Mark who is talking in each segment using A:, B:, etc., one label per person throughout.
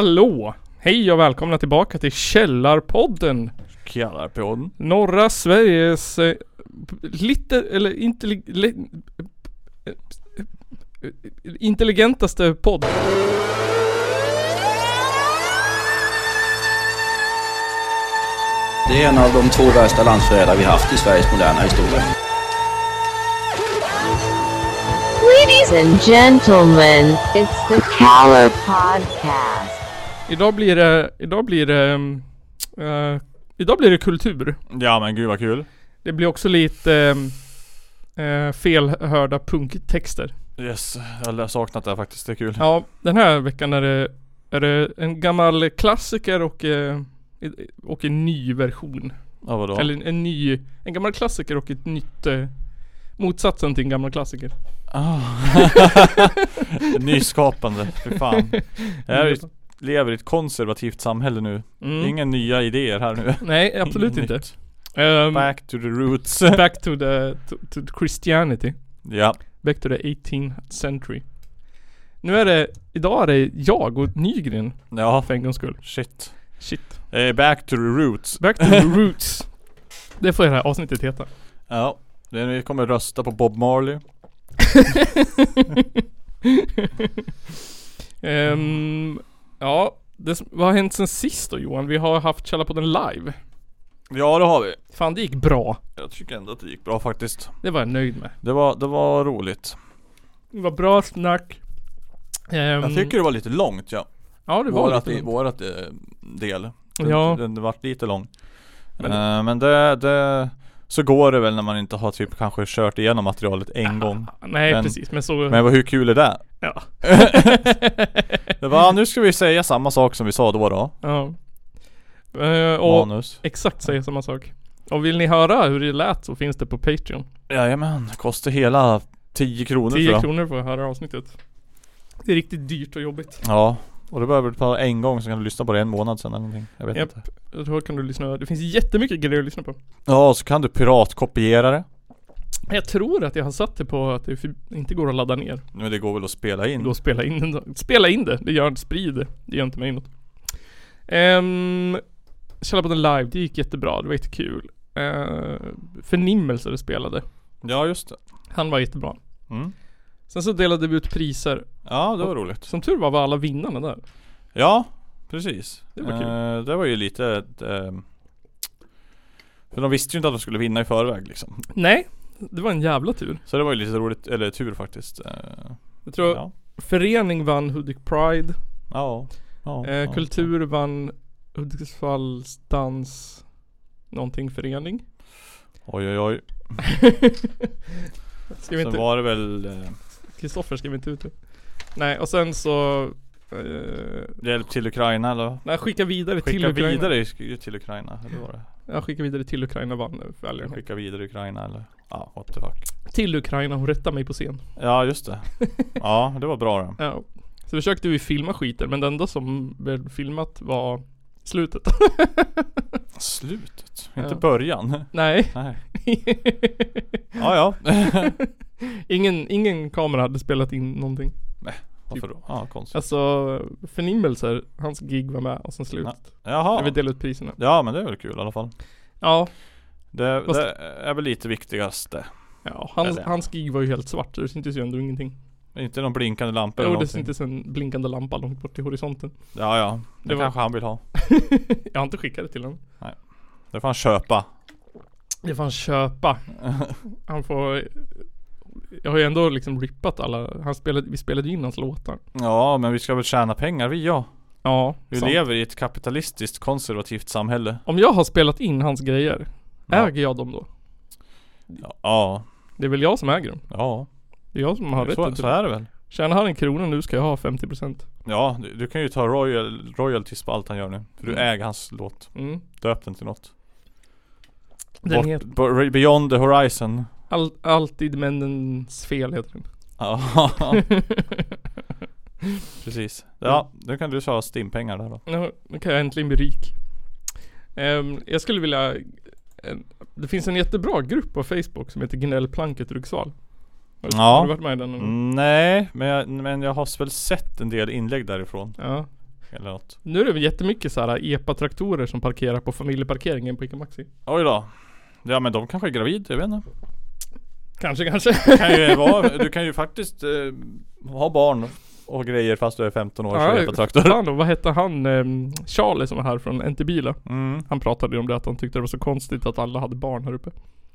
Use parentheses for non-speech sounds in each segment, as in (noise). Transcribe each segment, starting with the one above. A: Hallå! Hej och välkomna tillbaka till Källarpodden.
B: Kallar på den.
A: Norra Sveriges eh, lite, eller intellig, li, eh, eh, intelligentaste podd.
C: Det är en av de två värsta landsförrädare vi haft i Sveriges moderna historia.
D: Ladies and gentlemen, it's the Caller Podcast.
A: Idag blir det, idag blir det, mm, eh, idag blir det kultur.
B: Ja men gud vad kul.
A: Det blir också lite eh, eh, felhörda punktexter.
B: Yes, jag har saknat det här faktiskt. Det är kul.
A: Ja, den här veckan är det, är det en gammal klassiker och, eh, och en ny version.
B: Ja vadå?
A: Eller en, en ny, en gammal klassiker och ett nytt eh, Motsatsen till en gammal klassiker.
B: Ah. (laughs)
A: (laughs)
B: Nyskapande,
A: (laughs)
B: fy fan. Jag är ju- lever i ett konservativt samhälle nu.
A: Mm.
B: Inga nya idéer här nu.
A: Nej, absolut
B: Inget
A: inte.
B: nytt.
A: Ehm, (laughs) back.
B: Back to the roots. (laughs)
A: to the to, to the Christianity.
B: ja.
A: Back to the 18th century. Nu är det, idag är det jag och Nygren
B: Ja,
A: för en gångs skull.
B: shit.
A: Shit.
B: Eh, back to the roots.
A: Back to
B: (laughs)
A: the roots. Det får det här avsnittet heta.
B: Ja. Det- Vi kommer rösta på Bob Marley.
A: Ehm, ja, det, som- vad har hänt sen sist då Johan? Vi har haft Källarpodden live.
B: Ja det har vi.
A: Fan det gick bra.
B: Jag tycker ändå att det gick bra faktiskt.
A: Det var jag nöjd med.
B: Det var, det var roligt.
A: Det var bra snack. Ehm,
B: Jag tycker det var lite långt ja.
A: Ja det var
B: Vårat,
A: lite.
B: vårat eh, del. Den,
A: Ja.
B: den vart lite lång.
A: Men-
B: Men, eh, men det, det, så går det väl när man inte har typ kanske kört igenom materialet en gång.
A: Nej
B: men-
A: precis men så.
B: Men (laughs) vad- hur kul är det?
A: Ja.
B: Det var, "Ah, nu ska vi säga samma sak som vi sa då då.
A: (laughs) ja. Eh, och
B: Manus.
A: exakt säger samma sak. Och vill ni höra hur det lät så finns det på Patreon.
B: Jajamän, kostar hela 10 kronor
A: 10
B: tror jag.
A: kronor för att höra avsnittet. Det är riktigt dyrt och jobbigt.
B: Ja. Och det behöver du ta en gång så kan du lyssna på det en månad sen eller någonting. Jag vet
A: Japp.
B: inte.
A: Jag tror kan du lyssna. Det finns jättemycket grejer att lyssna på.
B: Ja, så kan du piratkopiera det.
A: Jag tror att jag har satt det på att det fi- inte går att ladda ner.
B: Men det går väl att spela in.
A: Då spela in det. Spela in det. Det gör, sprid det. Det gör inte mig något. Um, Källarpodden live, det gick jättebra. Det var jättekul. Uh, förnimmelser spelade.
B: Ja, just det.
A: Han var jättebra.
B: Mm.
A: Sen så delade vi ut priser.
B: Ja, det var roligt.
A: Som tur var var alla vinnarna där.
B: Ja, precis.
A: Det var kul.
B: Eh, det var ju lite ett, ehm, För de visste ju inte att de skulle vinna i förväg liksom.
A: Nej, det var en jävla tur.
B: Så det var ju lite roligt, eller tur faktiskt. Eh,
A: Jag tror
B: ja.
A: förening vann Hudik Pride.
B: Ja. ja,
A: Eh,
B: ja.
A: Kultur vann Hudiksvalls dans någonting
B: (laughs)
A: förening.
B: Oj oj oj.
A: Ska vi
B: Sen
A: inte,
B: var det väl eh,
A: Kristoffer skrev inte ut det. Nej och sen så eh,
B: Hjälp till Ukraina eller?
A: Nej skicka vidare till
B: Skicka
A: Ukraina.
B: vidare i- till Ukraina eller var det?
A: Ja skicka vidare till Ukraina vann väljaren.
B: Skicka vidare i Ukraina eller? Ja, what the fuck.
A: Till Ukraina, hon rättade mig på scen.
B: Ja
A: (laughs)
B: just det. Ja, det var bra det.
A: Ja. Så försökte vi filma skiten men det enda som blev filmat var slutet. (laughs)
B: Slutet. Inte
A: Ja.
B: början.
A: Nej. (laughs)
B: Nej. Ja
A: Typ.
B: ja.
A: ingen, ingen kamera hade spelat in någonting.
B: Varför då? Ja, konstigt.
A: Alltså förnimmelser, hans gig var med och sen slutet. Där vi
B: Jaha.
A: delade ut priserna.
B: Ja men det är väl kul i alla fall.
A: Ja.
B: Det,
A: Fast-
B: det är väl lite viktigaste.
A: ja hans,
B: Eller-
A: hans gig var ju helt svart så det syntes ju ändå ingenting.
B: Inte någon blinkande lampa
A: Jo
B: eller
A: det
B: någonting.
A: syntes en blinkande lampa långt bort i horisonten.
B: Ja, ja. Det,
A: Det var-
B: kanske han vill ha.
A: Jag har inte skickat det till honom.
B: Det får han köpa.
A: Det får han köpa. (laughs) Han får Jag har ju ändå liksom rippat alla, han spelade, vi spelade ju in hans låtar.
B: Ja, men vi ska väl tjäna pengar vi ja.
A: Ja,
B: Vi
A: sant.
B: lever i ett kapitalistiskt konservativt samhälle.
A: Om jag har spelat in hans grejer,
B: Ja.
A: äger jag dem då?
B: Ja, ja.
A: Det är väl jag som äger dem?
B: ja.
A: Det är jag som har rätt
B: Så,
A: till
B: så
A: det.
B: är det väl.
A: Tjänar han en krona nu ska jag ha 50%
B: Ja, du, du kan ju ta royal, royalties på allt han gör nu. För du äger hans låt.
A: mm.
B: Döp den till något.
A: Den
B: Bort,
A: heter
B: bo- beyond
A: (laughs)
B: the horizon.
A: all, Alltid männens fel heter den
B: Ja, (laughs)
A: (laughs)
B: precis. Ja,
A: Mm.
B: nu kan du tjäna stimpengar där då.
A: Nu nu kan jag äntligen bli rik Ehm, Jag skulle vilja en, Det finns en jättebra grupp på Facebook som heter Gnällplanket Hudiksvall Har du- Mm.
B: Ja. Mm.
A: Har du varit med i den? någon gång?
B: Nej, men jag, men jag har väl sett en del inlägg därifrån.
A: Ja
B: eller något.
A: Nu är det väl jättemycket så här epa-traktorer som parkerar på familjeparkeringen på Ica Maxi.
B: Oj då. Ja men de kanske är gravid, jag vet inte.
A: Kanske, kanske.
B: Kan ju vara,
A: (laughs)
B: du kan ju faktiskt eh, ha barn och grejer fast du är 15 år
A: Ja,
B: så ja, traktor.
A: Fan då, vad hette han, ehm, Charlie som var här från NT-bilar?
B: Mm.
A: Han pratade ju om det att han tyckte det var så konstigt att alla hade barn här uppe.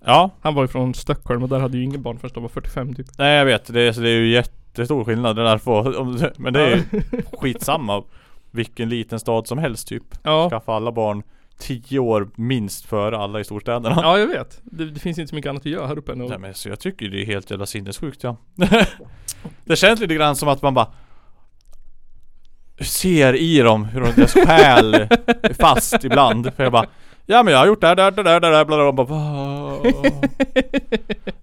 B: Ja,
A: Han var ju från Stockholm och där hade ju ingen barn förrän de var 45 typ.
B: nej jag vet. Det är, så det är ju jättestor skillnad. Det där får, om, du- men det är ju
A: (laughs)
B: skitsamma. Vilken liten stad som helst typ.
A: Ja,
B: Skaffa alla barn 10 år minst före alla i storstäderna.
A: ja jag vet. Det, det finns inte så mycket annat att göra här uppe än
B: Nej
A: att...
B: men så jag tycker det är helt jävla sinnessjukt ja. (laughs) det känns lite grann som att man bara ser i dem hur de deras själ är fast ibland. För jag bara Ja men jag har gjort det här, det här, det där, det där, bla, bla, (laughs) bla. Och bara, "Va?"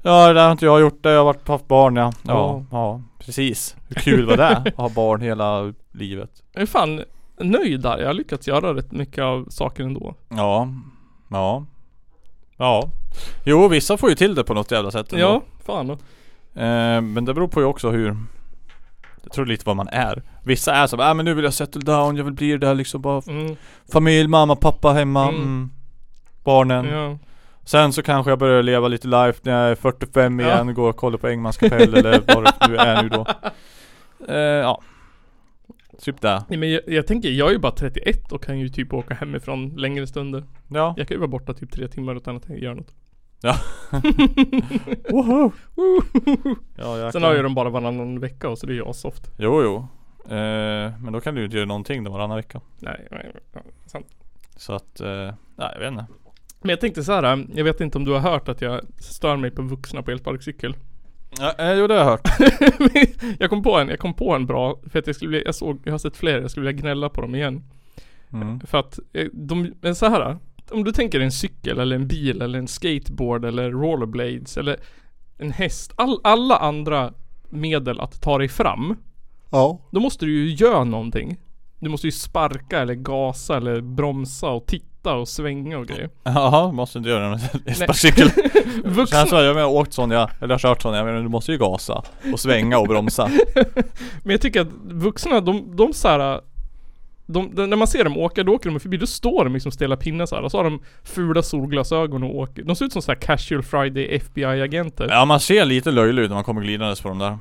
B: Ja det där har inte jag gjort, det jag har varit, haft barn ja. Ja,
A: Ja.
B: ja precis. Hur kul var det? Att ha barn hela livet.
A: Jag är fan nöjd där. Jag har lyckats göra rätt mycket av saker ändå.
B: Ja. Ja. Ja. Jo vissa får ju till det på något jävla sätt ändå.
A: Ja, fan.
B: Eh, men det beror på ju också hur Jag tror lite vad man är Vissa är så bara, ah, men nu vill jag settle down, jag vill bli det där liksom bara f-
A: Mm,
B: Familj, mamma, pappa hemma
A: Mm.
B: mm. Barnen
A: ja.
B: Sen så kanske jag börjar leva lite life när jag är 45
A: Ja.
B: igen, går och kollar på Engmans
A: (laughs)
B: kapell eller vad det nu är nu då eh, Ja Typ det
A: Nej, men jag, jag tänker, jag är ju bara 31 och kan ju typ åka hemifrån längre stunder.
B: Ja
A: Jag kan ju vara borta typ tre timmar utan att jag gör något. (laughs)
B: Ja.
A: Woho!
B: ja jag
A: Sen har ju de bara varannan vecka och så det är ju assoft.
B: Jo jo eh, Men då kan du ju inte göra någonting då varannan vecka
A: Nej, nej, nej, sant.
B: Så att, eh, nej jag vet inte
A: Men jag tänkte så här. jag vet inte om du har hört att jag stör mig på vuxna på elsparkcykel. (laughs)
B: ja, eh, Jo det har jag hört
A: jag kom på en, jag kom på en bra, för att jag skulle vilja, jag såg, jag har sett fler, jag skulle vilja gnälla på dem igen.
B: mm.
A: För att eh, de, men så här. Om du tänker en cykel eller en bil eller en skateboard eller rollerblades eller en häst. All, alla andra medel att ta dig fram.
B: Ja
A: Då måste du ju göra någonting. Du måste ju sparka eller gasa eller bromsa och titta och svänga och grejer.
B: Jaha, måste inte (laughs) göra en sparkcykel.
A: Vuxna,
B: Sen så har jag med åkt sån jag, eller jag har kört sån jag, men du måste ju gasa och svänga och bromsa.
A: men jag tycker att vuxna, de, de så här. De, de, när man ser dem åka, då åker de förbi, då står de liksom stela pinnar så här. Och så har de fula solglasögon och åker. De ser ut som så här casual friday FBI-agenter.
B: Ja man ser lite löjlig ut när man kommer glidandes på dem där.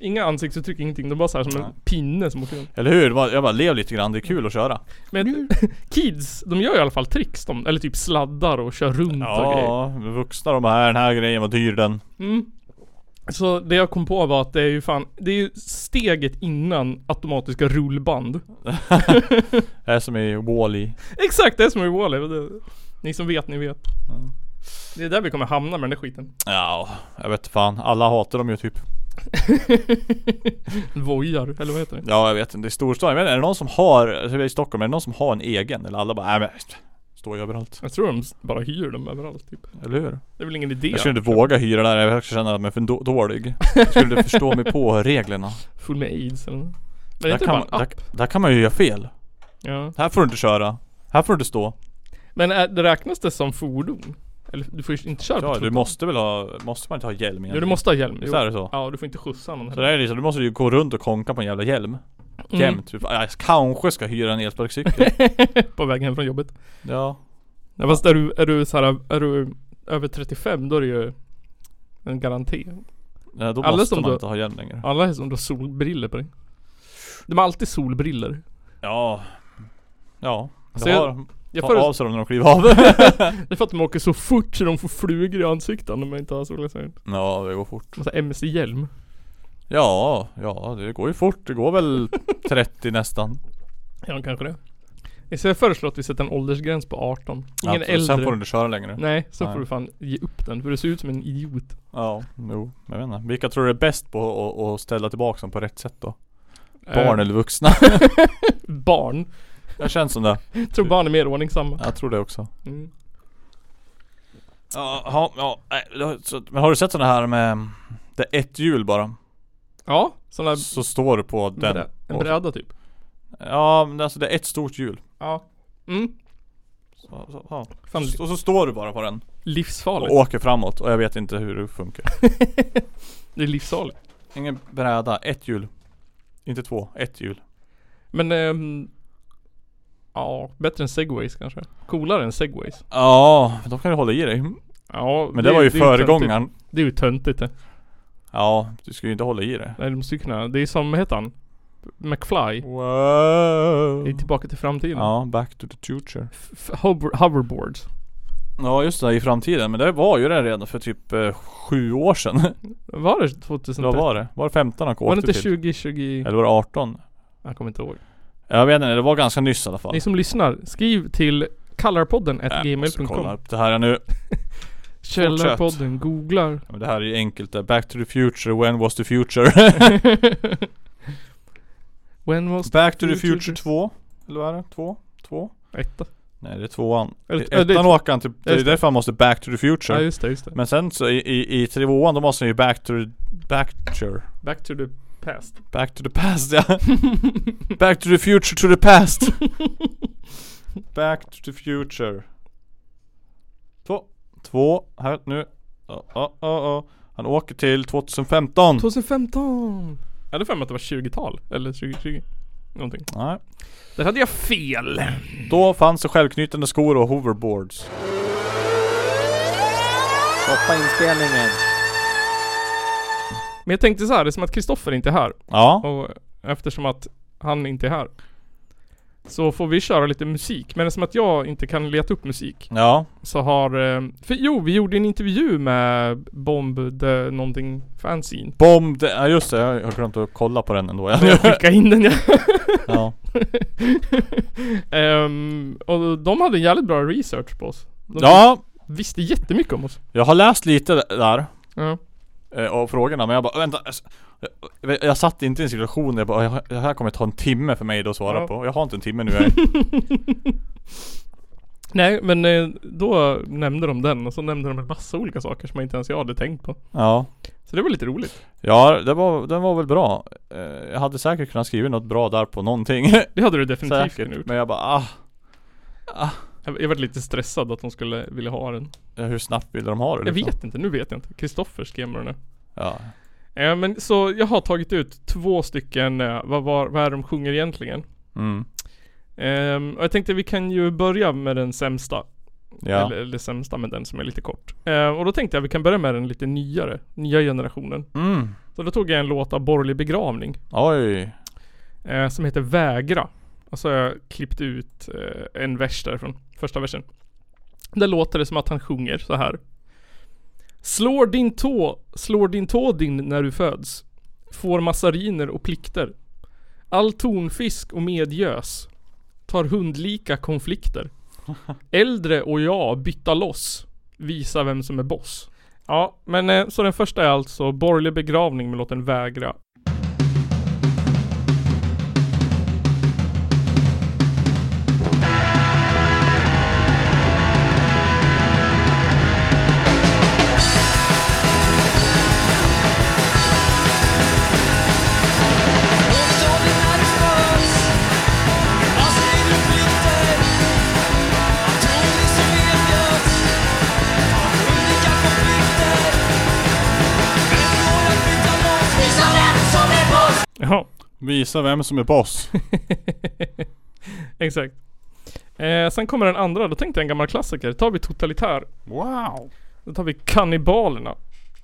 A: Inga ansiktsuttryck, ingenting. De bara så här som en
B: Nej.
A: pinne som åker runt.
B: Eller hur? Man- Jag bara lev lite grann, det är kul att köra.
A: Men (laughs) kids, de gör i alla fall tricks de. Eller typ sladdar och kör runt och grejer.
B: Ja, vuxna de här, den här grejen var dyr den.
A: Mm. Så det jag kom på var att det är ju fan, det är ju steget innan automatiska
B: (laughs)
A: rullband. (laughs)
B: Det är som i Wall-E.
A: Exakt, det är som i Wall-E. Ni som vet, ni vet. Det är där vi kommer hamna med den där
B: (laughs)
A: skiten.
B: Ja, jag vet fan. Alla hatar dem ju typ.
A: Vojar, eller vad heter det?
B: Ja jag vet inte, i storstan. Men är det någon som har, alltså, i Stockholm, är det någon som har en egen? Eller alla bara, nej men står ju överallt.
A: Jag tror de s- bara hyr dem överallt typ.
B: Eller hur?
A: Det är väl ingen idé.
B: Jag skulle inte våga hyra där, jag skulle känna mig för då- dålig. Jag skulle inte förstå mig
A: (laughs)
B: på reglerna.
A: Full med aids eller nåt. Men det är
B: Där
A: inte
B: kan,
A: bara
B: man,
A: en
B: där,
A: app.
B: där kan man ju göra fel.
A: Ja.
B: Här får du inte köra. Här får du inte stå.
A: Men är, det räknas det som fordon? Eller du får ju inte köra på
B: Ja, du
A: trottoar.
B: måste väl ha, måste man inte ha hjälm
A: Jo
B: egentligen?
A: du måste ha hjälm. Jo.
B: Visst är det så?
A: Ja, Mm. du får inte skjutsa någon
B: Så det är liksom, du måste ju gå runt och konka på en jävla hjälm. Jämt. Typ, jag kanske ska hyra en elsparkcykel.
A: (laughs) På vägen hem från jobbet.
B: ja.
A: Nej, fast är du, är du så här, är du över 35 då är det ju en garanti.
B: Nej, då
A: Alldeles
B: måste
A: som
B: man
A: du-
B: inte ha hjälm längre.
A: Alla är som du har solbriller på dig. De har alltid solbriller.
B: Ja. Ja.
A: Så
B: Så
A: jag-
B: har,
A: Jag
B: ta
A: förut,
B: av sig dem när de kliver
A: (laughs)
B: av.
A: det är för att de åker så fort så de får flugor i ansiktet när man inte har solglasögon.
B: ja, det går fort.
A: Massa MC-hjälm.
B: Ja, ja, det går ju fort. Det
A: (laughs)
B: går väl 30 nästan.
A: Ja, kanske det. Så jag föreslår att vi sätter en åldersgräns på 18. Ingen
B: Ja,
A: äldre.
B: Sen får du inte köra (laughs) längre.
A: Nej, så
B: Nej.
A: får du fan ge upp den. För du ser ut som en idiot.
B: Ja, jo, jag vet inte. Vilka tror du är bäst på att- att- att ställa tillbaka dem på rätt sätt då? Barn eller vuxna? (laughs)
A: Eh, barn.
B: Jag känns som det.
A: Jag tror barn är mer ordningsamma.
B: Jag tror det också.
A: Mm.
B: Ja, ja, ja nej, det har- så- men har du sett sådana här med Det är ett hjul bara.
A: Ja, sån där
B: Så står du på den.
A: brä- en bräda typ.
B: Ja, men alltså det är ett stort hjul.
A: Ja. Mm.
B: Så, så, ja.
A: Fan,
B: S- Och så står du bara på den.
A: livsfarligt.
B: Och åker framåt och jag vet inte hur det funkar.
A: Det är livsfarligt.
B: Ingen bräda, ett hjul. Inte två, ett hjul.
A: Men ehm, Ja, bättre än segways kanske. Coolare än segways.
B: Ja, då kan du hålla i dig. Men
A: Ja,
B: det, var ju
A: är töntigt.
B: föregångaren.
A: Det är ju töntigt det.
B: Ja, du ska ju inte hålla i dig.
A: Nej, du måste ju kunna. Det är som, vad heter han? McFly.
B: Wow.
A: Det är tillbaka till framtiden.
B: Ja, back to the future.
A: F- f- hover- hoverboards.
B: Ja just det, i framtiden. Men det var ju det redan för typ eh, sju år sedan.
A: Var det
B: (laughs) Vad
A: 2013?
B: var det? Var det 15 han åkte
A: Var det inte
B: till?
A: 2020?
B: Eller var det 18?
A: Jag kommer inte ihåg.
B: Jag vet inte, det var ganska nyss i alla fall.
A: Ni som lyssnar, skriv till kallarpodden
B: Äh, måste kolla
A: gmail.com
B: upp det här nu.
A: Källarpodden googlar.
B: (laughs) Ja, Men det här är ju enkelt där. Back to the future, when was
A: (laughs)
B: the future?
A: When was
B: Back to the
A: Future.
B: future 2? Eller vad är det? 2? 2?
A: etta?
B: Nej det är tvåan.
A: Eller-
B: I
A: det är-
B: Ettan åker han till... Det är
A: just det.
B: därför han måste back to the
A: Ja
B: future.
A: just det, just det.
B: Men sen så i, i, i tvåan då måste han ju back to the... Back to...
A: Back to the past.
B: Back to the past ja. (laughs) Back to the future to the past. Back to the future. Två. Två. Här nu. Ja, ja, ja, ja. Han åker till 2015.
A: 2015! Jag hade för mig att det var 20-tal. Eller 2020. Någonting.
B: Nej.
A: Där hade jag fel.
B: Då fanns det självknytande skor och hoverboards.
E: Stoppa inspelningen.
A: Men jag tänkte så här, det är som att Kristoffer inte är här.
B: Ja.
A: Och eftersom att han inte är här. Så får vi köra lite musik. Men eftersom att jag inte kan leta upp musik.
B: Ja.
A: Så har... eh, För jo, vi gjorde en intervju med Bomb the någonting fanzine.
B: Bomb. det- Ja just det. Jag jag har glömt att kolla på den ändå. (laughs)
A: Jag skickade in den ja. (laughs)
B: ja.
A: Ehm, och de hade en jävligt bra research på oss. De
B: ja.
A: visste jättemycket om oss.
B: Jag har läst lite där.
A: Ja.
B: eh, Och frågorna men jag bara vänta alltså, jag, jag satt inte i en situation där jag bara "Jag- Det här kommer ta en timme för mig då att svara
A: Ja.
B: på Jag har inte en timme nu (laughs) jag
A: Nej men eh, då nämnde de den och så nämnde de en massa olika saker som inte ens jag hade tänkt på.
B: Ja
A: Så det var lite roligt.
B: Ja, det var, den var väl bra. Eh, Jag hade säkert kunnat skriva något bra där på någonting. (laughs)
A: Det hade du definitivt kunnat
B: säkert.
A: gjort.
B: Men jag bara ah,
A: Jag jag var lite stressad att de skulle vilja ha den.
B: hur snabbt vill de ha det?
A: Jag
B: liksom?
A: vet inte, nu vet jag inte. Kristoffer skrev med den nu.
B: Ja.
A: Eh, men så jag har tagit ut två stycken, eh, vad, var, vad är det de sjunger egentligen?
B: Mm.
A: Ehm, och jag tänkte vi kan ju börja med den sämsta.
B: Ja.
A: Eller, eller sämsta men den som är lite kort. Eh, och då tänkte jag vi kan börja med den lite nyare, nya generationen.
B: Mm.
A: Så då tog jag en låt av Borgerlig begravning
B: Oj.
A: eh, som heter Vägra. Och så har jag klippt ut eh, en vers därifrån, första versen. Där låter det som att han sjunger så här. Slår din tå, slår din tå din när du föds. Får massariner och plikter. All tonfisk och medgös. Tar hundlika konflikter. Äldre och jag bytta loss. Visa vem som är boss. Ja, men eh, så den första är alltså Borgerlig begravning med låten Vägra. Jaha.
B: Visa vem som är boss.
A: (laughs) Exakt. Eh, sen kommer den andra, då tänkte jag en gammal klassiker. Då tar vi totalitär.
B: (laughs) wow.
A: Då tar vi kannibalerna.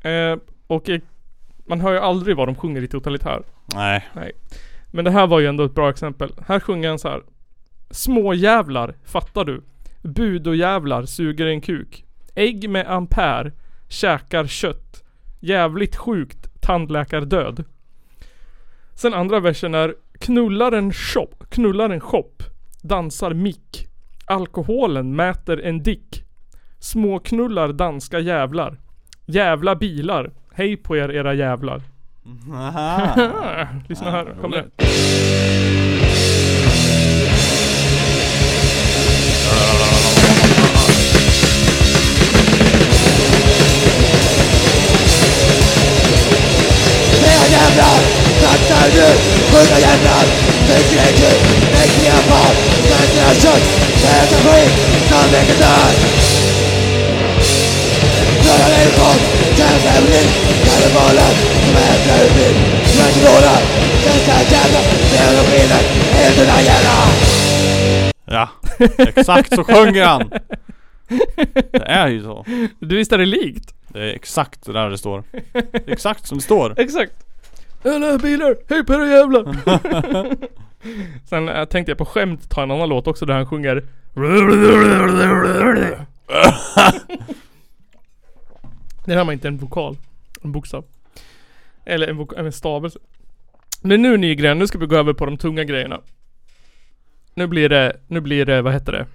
A: Eh, och eh, man hör ju aldrig vad de sjunger i totalitär.
B: Nej.
A: Men det här var ju ändå ett bra exempel. Här sjunger han så här. Småjävlar, fattar du? Budojävlar suger en kuk. Ägg med ampere, käkar kött. Jävligt sjukt, tandläkardöd. Sen andra versen är knullar en shop, knullar en shop, dansar mick. Alkoholen mäter en dick. Småknullar danska jävlar. Jävla bilar. Hej på er era jävlar.
B: (laughs)
A: Ah, lyssna här, kommer det.
F: eh, Tell
B: Ja, exakt så sjunger han. Det är ju så.
A: Du visst är det likt?
B: Det är exakt det där det står. Exakt som det står.
A: Exakt. Alla bilar, hej på dig jävlar. (laughs) Sen eh, tänkte jag på skämt ta en annan låt också där han sjunger Det här var inte en vokal. En bokstav. Eller en, vok- en stavelse. Men nu Nygren, nu ska vi gå över på de tunga grejerna. Nu blir det, nu blir det, vad heter det?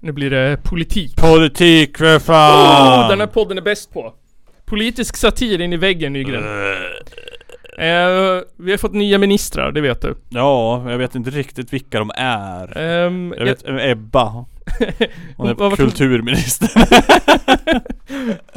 A: Nu blir det politik.
B: (laughs) Politik för fan!
A: Oh, den här podden är bäst på. Politisk satir in i väggen Nygren. Eh, vi har fått nya ministrar, det vet du.
B: Ja, jag vet inte riktigt vilka de är.
A: Ehm,
B: Jag vet Ebba. Hon
A: (laughs) Vad var
B: är
A: det-
B: kulturminister.
A: jag-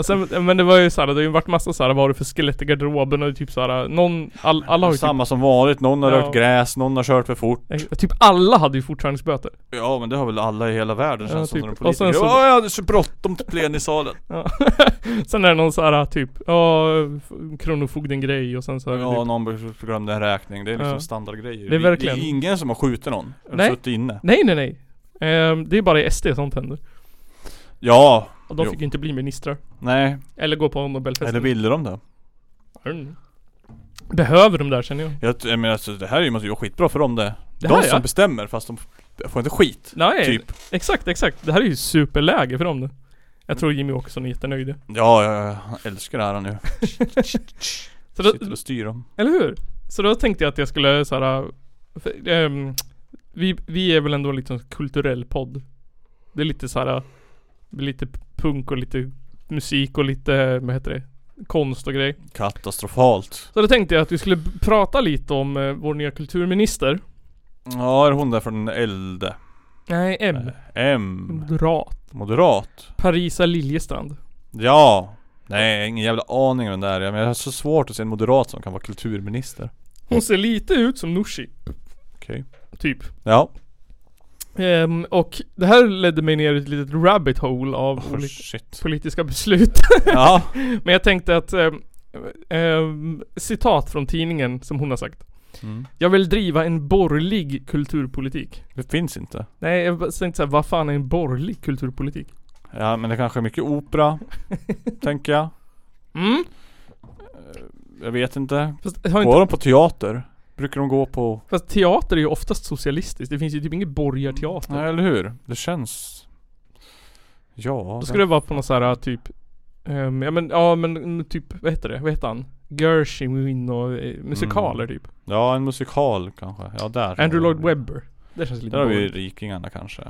A: sen, Alltså, men det var ju såhär, det har ju varit massa såhär, vad har du för skelett i garderoben och typ såhär, någon, all, alla har ju typ-
B: Samma som vanligt. Någon har
A: Ja.
B: rört gräs, någon har kört för fort.
A: typ, typ alla hade ju fortkörningsböter.
B: Ja men det har väl alla i hela världen
A: Ja,
B: känns
A: typ.
B: som när de
A: Och sen
B: politiker.
A: så-
B: Ja, jag hade så bråttom till plenisalen.
A: Ja. sen är det någon såhär typ, ja, f- kronofogden-grej och sen så är det
B: Ja,
A: typ,
B: någon glömde en räkning. Det är liksom
A: Ja.
B: standardgrejer.
A: Det är verkligen-
B: det är ingen som har skjutit någon. Eller
A: Nej.
B: suttit inne.
A: Nej nej nej. Ehm, det är bara i SD sånt händer.
B: Ja.
A: Och de
B: Jo.
A: fick ju inte bli ministrar.
B: Nej.
A: Eller gå på Nobelfesten.
B: Eller ville de det?
A: Mm. Behöver de där känner jag.
B: Jag, jag menar alltså, det här måste ju vara skitbra för dem det.
A: Det
B: de
A: här,
B: som
A: ja.
B: bestämmer fast de får inte skit.
A: Nej,
B: Typ.
A: exakt, exakt. Det här är ju superläge för dem nu. Jag tror Jimmy Åkesson är jättenöjd.
B: Ja, ja, ja. Han älskar det här nu.
A: Så då,
B: Sitter och styr dem.
A: eller hur? Så då tänkte jag att jag skulle så här, för, ehm, vi, vi är väl ändå lite en kulturell podd. Det är lite så här, lite punk och lite musik och lite, vad heter det? Konst och grej.
B: Katastrofalt.
A: Så då tänkte jag att vi skulle b- prata lite om eh, vår nya kulturminister.
B: Ja, är hon där från Elde?
A: Nej, M.
B: M.
A: Moderat.
B: Moderat.
A: Äh, Parisa Liljestrand.
B: Ja. Nej, jag har ingen jävla aning om den där. Jag menar, det är så svårt att se en moderat som kan vara kulturminister.
A: Hon ser lite ut som Nooshi,
B: Okej.
A: typ.
B: Ja.
A: Ehm, och det här ledde mig ner i ett litet rabbit hole av
B: Oh,
A: poli-
B: shit.
A: politiska beslut.
B: Ja.
A: Men jag tänkte att, ehm, ehm, citat från tidningen som hon har sagt.
B: Mm.
A: Jag vill driva en borgerlig kulturpolitik.
B: Det finns inte.
A: Nej, jag bara tänkte såhär, vad fan är en borgerlig kulturpolitik?
B: Ja, men det kanske är mycket (laughs) opera. tänker jag.
A: Mm?
B: Jag vet inte.
A: Fast, har inte,
B: Går de på teater? Brukar de gå på...
A: fast teater är ju oftast socialistiskt. Det finns ju typ ingen borgarteater.
B: Nej, eller hur? Det känns... Ja.
A: Då skulle det vara på någon sån här typ ehm, Ja men, ja men mm, typ, vad heter det? Vad heter han? Gershwin och eh, musikaler
B: Mm.
A: typ
B: Ja, en musikal kanske. Ja, där.
A: Andrew Lloyd Webber Det känns lite
B: Där har vi
A: borgerligt
B: rikingarna kanske.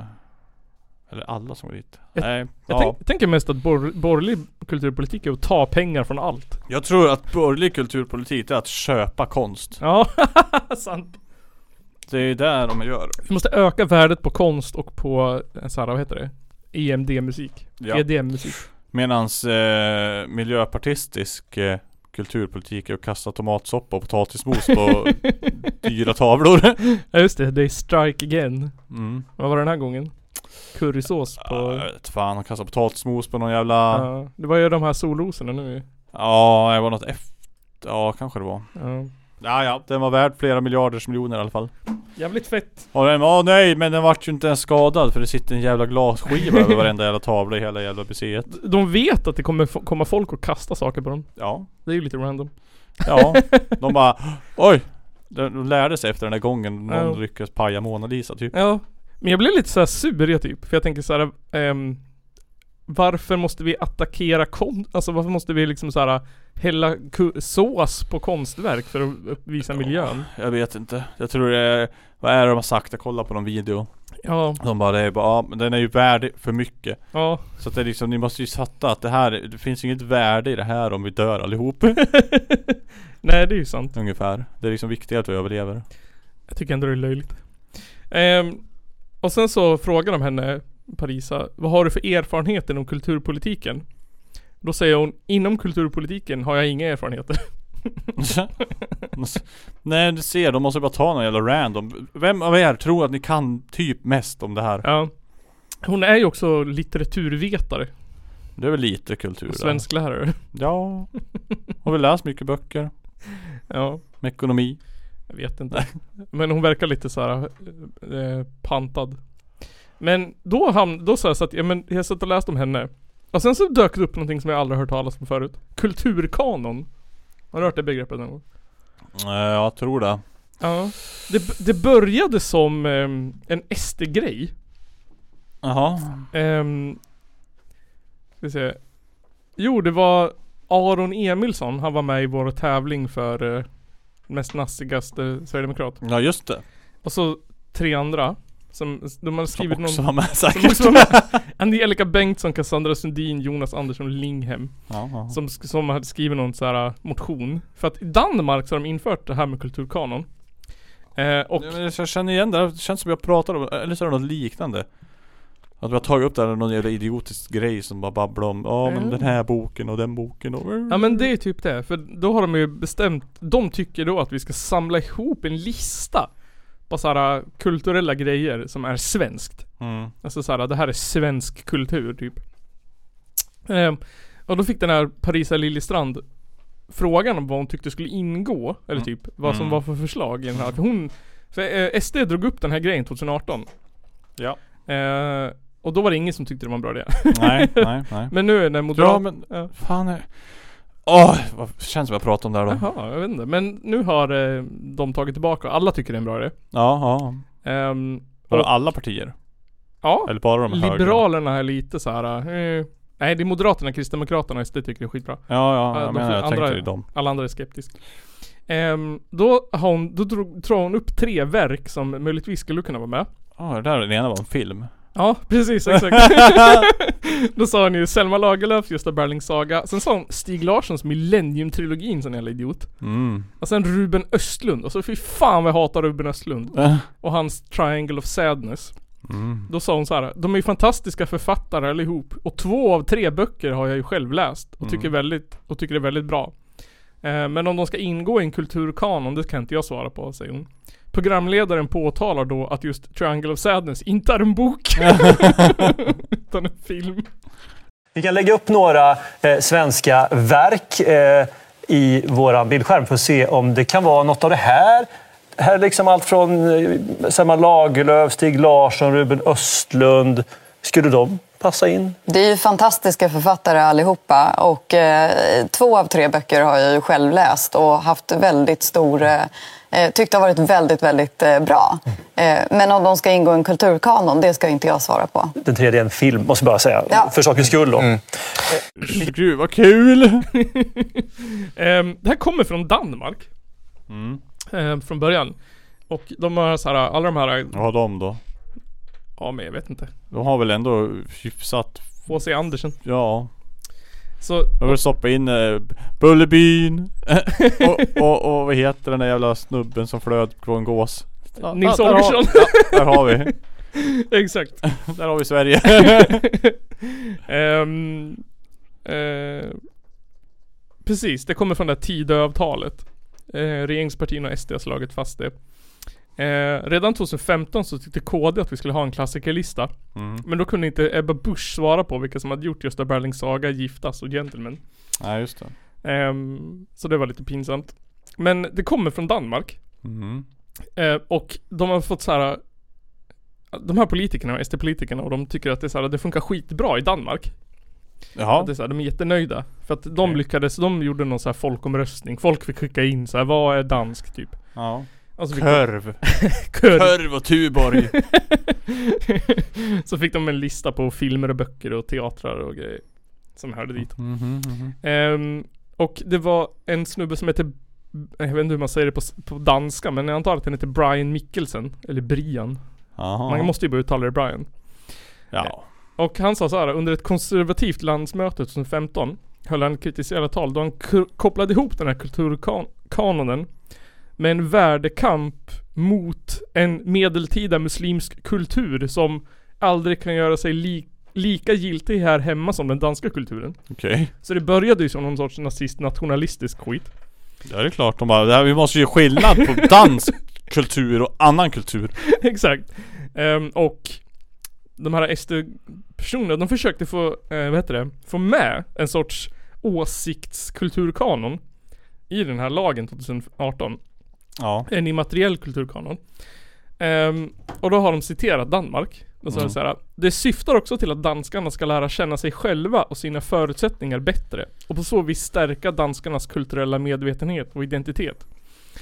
B: Eller alla som går dit.
A: Jag-
B: Nej,
A: Jag
B: ja.
A: tänk, tänker mest att bor, borgerlig kulturpolitik är att ta pengar från allt
B: Jag tror att borgerlig kulturpolitik är att köpa konst.
A: (laughs) Ja, sant
B: Det är där de gör.
A: Vi måste öka värdet på konst och på eh, så här, vad heter det? E EMD-musik
B: Ja.
A: EDM-musik
B: Medans eh, miljöpartistisk eh, kulturpolitik är att kasta tomatsoppa och potatismos på dyra tavlor.
A: (laughs) Ja just det, det är strike again
B: Mm.
A: Vad var det den här gången? Currysås på...
B: Ja, Jag vet fan, han kastade potatismos på någon
A: ja.
B: jävla...
A: det var ju de här solrosorna nu ju.
B: Ja, det var något efter... Ja, kanske det var.
A: ja.
B: Ja, ja. Den var värd flera miljarders miljoner i alla fall.
A: Jävligt fett
B: Ja den, åh nej men den vart ju inte ens skadad för det sitter en jävla glasskiva över varenda jävla tavla i hela jävla museet.
A: De vet att det kommer f- komma folk och kasta saker på dem.
B: Ja.
A: Det är ju lite random.
B: Ja. De bara Oj! De de lärde sig efter den där gången någon
A: Ja.
B: lyckades paja Mona Lisa typ.
A: Ja. Men jag blev lite såhär sur jag typ. För jag tänker såhär, ehm, varför måste vi attackera konst? Alltså varför måste vi liksom såhär hälla ku- sås på konstverk för att upp- visa miljön?
B: Jag vet inte. Jag tror det är, Vad är det de har sagt? Jag kollade på någon video.
A: Ja,
B: De bara det är bara, ja, men den är ju värd för mycket.
A: ja. (laughs)
B: Så att det är liksom, ni måste ju fatta att det här, det finns inget värde i det här om vi dör allihop.
A: Nej det är ju sant.
B: Ungefär. Det är liksom viktigt att vi överlever.
A: Jag tycker ändå det är löjligt. Ehm, och sen så frågar de henne, Parisa, vad har du för erfarenhet inom kulturpolitiken? Då säger hon, inom kulturpolitiken har jag inga erfarenheter.
B: (laughs) Nej du ser, de måste bara ta någon jävla random. Vem av er tror att ni kan typ mest om det här?
A: Ja. Hon är ju också litteraturvetare.
B: Det är väl lite kultur
A: Och
B: där. (laughs)
A: svensklärare.
B: Ja. Har vi läst mycket böcker?
A: Ja,
B: Med ekonomi?
A: jag vet inte. Men hon verkar lite så här eh, pantad. Men då hamn, då sa jag så att, ja men jag satt och läste om henne. Och sen så dök det upp någonting som jag aldrig hört talas om förut. Kulturkanon. Har du hört det begreppet någon gång?
B: Eh, jag tror det.
A: Ja. Det, det började som ehm, en SD-grej.
B: Jaha.
A: Um, ska vi se. Jo, det var Aron Emilsson. Han var med i vår tävling för eh, mest nazigaste sverigedemokrat.
B: Ja just det.
A: Och så tre andra. Som, de hade
B: Som
A: skrivit någon...
B: också var med
A: Som (laughs)
B: säkert.
A: också var med. Angelica Bengtsson, Cassandra Sundin, Jonas Andersson Linghem.
B: Ja, ja.
A: Som, sk- som hade skrivit någon så här äh, motion. För att i Danmark så har de infört det här med kulturkanon. Eh, och
B: Ja, men Jag känner igen det, här. det känns som jag pratar om, eller så är det något liknande Att vi har tagit upp det här, någon jävla idiotisk grej som bara babblar om Ja men
A: Mm.
B: den här boken och den boken och
A: Ja men det är typ det, för då har de ju bestämt, de tycker då att vi ska samla ihop en lista på såhär kulturella grejer som är svenskt.
B: mm.
A: Alltså såhär, det här är svensk kultur typ. Ehm, och då fick den här Parisa Liljestrand frågan om vad hon tyckte skulle ingå, eller
B: Mm.
A: typ vad som
B: Mm.
A: var för förslag i den här. För hon, för eh, SD drog upp den här grejen 2018.
B: Ja
A: Eh, och då var det ingen som tyckte det var en bra idé. (laughs)
B: Nej, nej, nej
A: Men nu när
B: Ja
A: Moderaterna...
B: men
A: Ja.
B: fan är Åh, vad känns som jag pratar om det här då
A: Jaha, jag vet inte. Men nu har eh, de tagit tillbaka och alla tycker det är en bra idé.
B: Ja, ja
A: Ehm,
B: Var det
A: Och-
B: alla partier?
A: ja,
B: Eller bara de högra?
A: Liberalerna är lite så här. Eh, nej, det är Moderaterna, Kristdemokraterna, SD tycker det är skitbra.
B: Ja, ja,
A: Ja,
B: jag
A: de
B: menar jag
A: andra-
B: tänkte ju dem
A: Alla andra är skeptiska. Ehm, då har hon, då drog, drar hon upp tre verk som möjligtvis skulle kunna vara med.
B: Ja, det där den ena var en film
A: Ja, precis,
B: (laughs)
A: exakt. då sa hon ju Selma Lagerlöfs Gösta Berlings saga. Sen sa hon Stig Larssons Millennium-trilogin, sån jävla idiot.
B: Mm
A: Och sen Ruben Östlund. Och så fy fan vad jag hatar Ruben Östlund. Och hans Triangle of Sadness.
B: Mm
A: Då sa hon så här. De är ju fantastiska författare allihop. Och två av tre böcker har jag ju själv läst. Och,
B: Mm.
A: tycker, väldigt, och tycker det är väldigt bra. Eh, men om de ska ingå i en kulturkanon, det kan inte jag svara på, säger hon. Programledaren påtalar då att just Triangle of Sadness inte är en
B: (laughs)
A: bok. utan en film.
F: Vi kan lägga upp några eh, svenska verk eh, i vår bildskärm för att se om det kan vara något av det här. Här är liksom allt från eh, Selma Lagerlöf, Stig Larsson, Ruben Östlund. Skulle de passa in?
G: Det är ju fantastiska författare allihopa och eh, två av tre böcker har jag ju själv läst och haft väldigt stor, eh, tyckt har varit väldigt, väldigt eh, bra. Eh, men om de ska ingå i en kulturkanon, det ska inte jag svara på.
F: Den tredje är en film, måste jag bara säga.
G: Ja.
F: För sakens skull. Då.
B: Gud vad kul!
A: Ehm, det här kommer från Danmark.
B: Mm,
A: ehm, från början. Och de har så här, alla de här,
B: vad har de då?
A: ja men jag vet inte.
B: De har väl ändå hyfsat,
A: H.C. Andersen.
B: ja
A: Så (laughs)
B: Jag vill stoppa in eh, (laughs) Bullerbyn och, och, och vad heter den där jävla snubben som flöd på en gås? Ja,
A: Nils
B: där har-
A: Holgersson.
B: ja, Där (laughs) har vi,
A: Exakt.
B: där har vi (laughs) Sverige
A: Ehm, eh, precis, det kommer från det här Tidöavtalet. Uh, regeringspartierna och SD har slagit fast det. Eh, redan 2015 så tyckte KD att vi skulle ha en klassikerlista.
B: mm.
A: Men då kunde inte Ebba Busch svara på vilka som hade gjort Gösta Berlings saga, Giftas och Gentlemen.
B: Nej just det
A: Ehm, så det var lite pinsamt. Men det kommer från Danmark.
B: mm.
A: Eh, och de har fått så här. De här politikerna, SD-politikerna, och de tycker att det, är så här, det funkar skitbra i Danmark.
B: Jaha,
A: Att det är så här, de är jättenöjda. För att de
B: Okej.
A: lyckades, de gjorde någon så här folkomröstning. Folk fick skicka in så här, vad är dansk typ?
B: ja.
A: Alltså fick de,
B: Körv
A: (laughs) kör.
B: Körv och Tuborg
A: (laughs)
B: (laughs)
A: så fick de en lista på filmer och böcker och teatrar och grejer. Som hörde dit.
B: Mhm, mhm.
A: Ehm, och det var en snubbe som heter jag vet inte hur man säger det på, s- på danska men jag antar att han heter Brian Mikkelsen. Eller Brian.
B: Jaha
A: Man måste ju börja uttala det Brian.
B: Ja
A: Och han sa så här, under ett konservativt landsmöte 2015 höll han ett kritiserat tal då han k- kopplade ihop den här kulturkanonen med en värdekamp mot en medeltida muslimsk kultur som aldrig kan göra sig li- lika giltig här hemma som den danska kulturen.
B: Okej
A: Så det började ju som någon sorts nazist-nationalistisk skit.
B: Ja det är klart de bara, det här, vi måste ju göra skillnad på
A: (laughs)
B: dansk kultur och annan kultur
A: Exakt. Ehm, och de här SD-personerna, de försökte få, eh, vad heter det, få med en sorts åsiktskulturkanon i den här lagen 2018.
B: Ja.
A: En immateriell kulturkanon. Ehm, och då har de citerat Danmark. Då sa de så här, det syftar också till att danskarna ska lära känna sig själva och sina förutsättningar bättre. Och på så vis stärka danskarnas kulturella medvetenhet och identitet.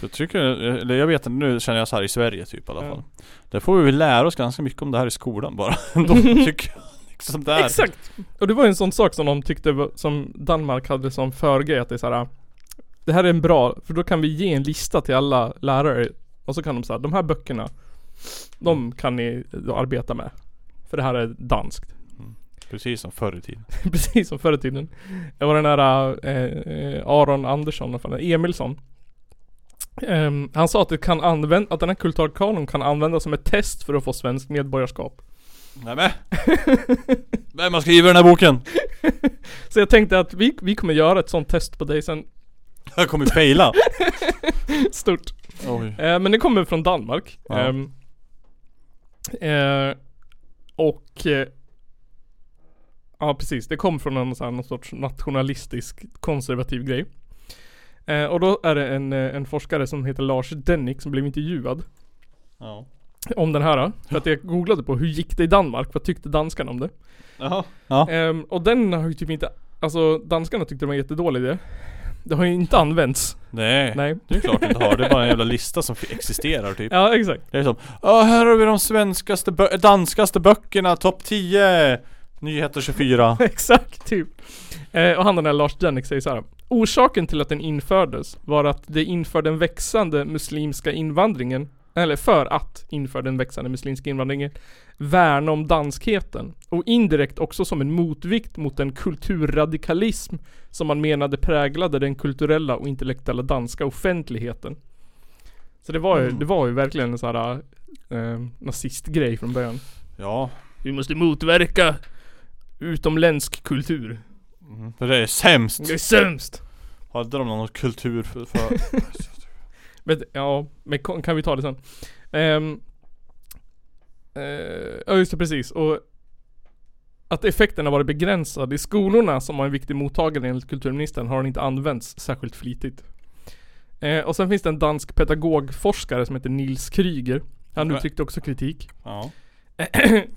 B: Jag tycker, eller jag vet inte, nu känner jag så här i Sverige typ i alla
A: Ja.
B: fall. Där får vi väl lära oss ganska mycket om det här i
A: (laughs)
B: skolan bara. De tycker jag liksom där.
A: Exakt! Och det var ju en sån sak som de tyckte var, som Danmark hade som förgrej att det är så här. Det här är en bra, för då kan vi ge en lista till alla lärare och så kan de säga de här böckerna De kan ni då arbeta med. För det här är danskt. (laughs)
B: Precis som förr i tiden.
A: Precis som förr i tiden. Det var den där eh, eh, Aron Andersson, vad fan, är det? Emilsson. Ehm, han sa att, det kan använd- att den här kulturkanon kan användas som ett test för att få svenskt medborgarskap.
B: Nej men. Vem har skrivit den här boken?
A: Så jag tänkte att vi, vi kommer göra ett sånt test på dig sen.
B: Jag kommer ju fejla.
A: Stort.
B: Oj.
A: Eh, men det kommer från Danmark.
B: Ja.
A: Ehm, eh, och... Eh, ja, precis. Det kom från någon, sån här, någon sorts nationalistisk konservativ grej. Eh, och då är det en, eh, en forskare som heter Lars Dennick som blev intervjuad
B: Ja.
A: om den här. eh, För att jag googlade på hur gick det i Danmark? Vad tyckte danskarna om det?
B: Jaha. Ja.
A: Ehm, och den har ju typ inte... Alltså danskarna tyckte det var en jättedålig idé. Det har ju inte använts.
B: Nej.
A: Nej.
B: Det är klart det inte har. Det är bara en jävla lista som existerar typ.
A: Ja, exakt.
B: Det är som Ja här har vi de svenskaste, bö- danskaste böckerna, topp 10! Nyheter 24. (laughs)
A: (laughs) Exakt, typ. Eh, och han den där Lars Jannik säger så här. Orsaken till att den infördes var att det inför den växande muslimska invandringen, eller för att inför den växande muslimska invandringen, värna om danskheten. Och indirekt också som en motvikt mot den kulturradikalism som man menade präglade den kulturella och intellektuella danska offentligheten. Så det var ju, det var ju verkligen en sån här eh, nazistgrej från början.
B: Ja.
A: Vi måste motverka utomländsk kultur.
B: Mm, För det är sämst.
A: Det är sämst!
B: Hade de någon kultur för... för... (laughs)
A: Men, ja, men kon- kan vi ta det sen? Ehm, eh, Ja just det, precis. Och att effekten har varit begränsad. I skolorna som har en viktig mottagare enligt kulturministern har den inte använts särskilt flitigt. Eh, och sen finns det en dansk pedagogforskare som heter Nils Kryger. Han
B: Nej.
A: uttryckte också kritik.
B: Ja.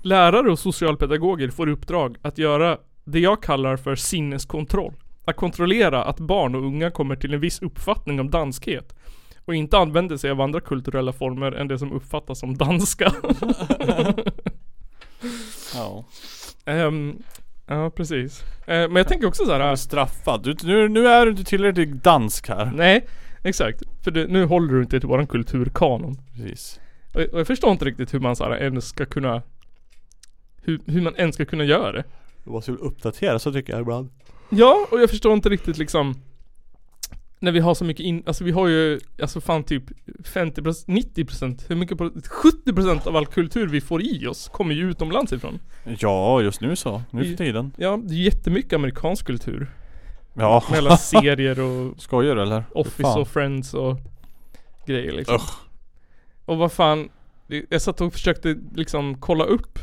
A: Lärare och socialpedagoger får i uppdrag att göra det jag kallar för sinneskontroll. Att kontrollera att barn och unga kommer till en viss uppfattning om danskhet och inte använder sig av andra kulturella former än det som uppfattas som danska. (laughs)
B: ja.
A: Ehm, ja, precis. Eh, men jag tänker också så här.
B: Straffad. Du, nu, nu är du inte tillräckligt dansk här.
A: Nej, exakt. För du, nu håller du inte till våran kulturkanon.
B: Precis.
A: Och, och jag förstår inte riktigt hur man så här ens ska kunna... Hur, hur man ens ska kunna göra det.
B: Du måste väl uppdatera så tycker jag ibland.
A: Ja, och jag förstår inte riktigt liksom När vi har så mycket in, alltså vi har ju Alltså fan typ 50%, 90% Hur mycket, pro- 70% av all kultur vi får i oss kommer ju utomlands ifrån
B: Ja, just nu så. Nu för tiden.
A: Ja, det är jättemycket amerikansk kultur
B: Ja.
A: Med alla serier och
B: (laughs) Skojar du eller?
A: Office
B: Fan.
A: och Friends och grejer liksom
B: Ugh.
A: Och vad fan det- Jag satt och försökte liksom kolla upp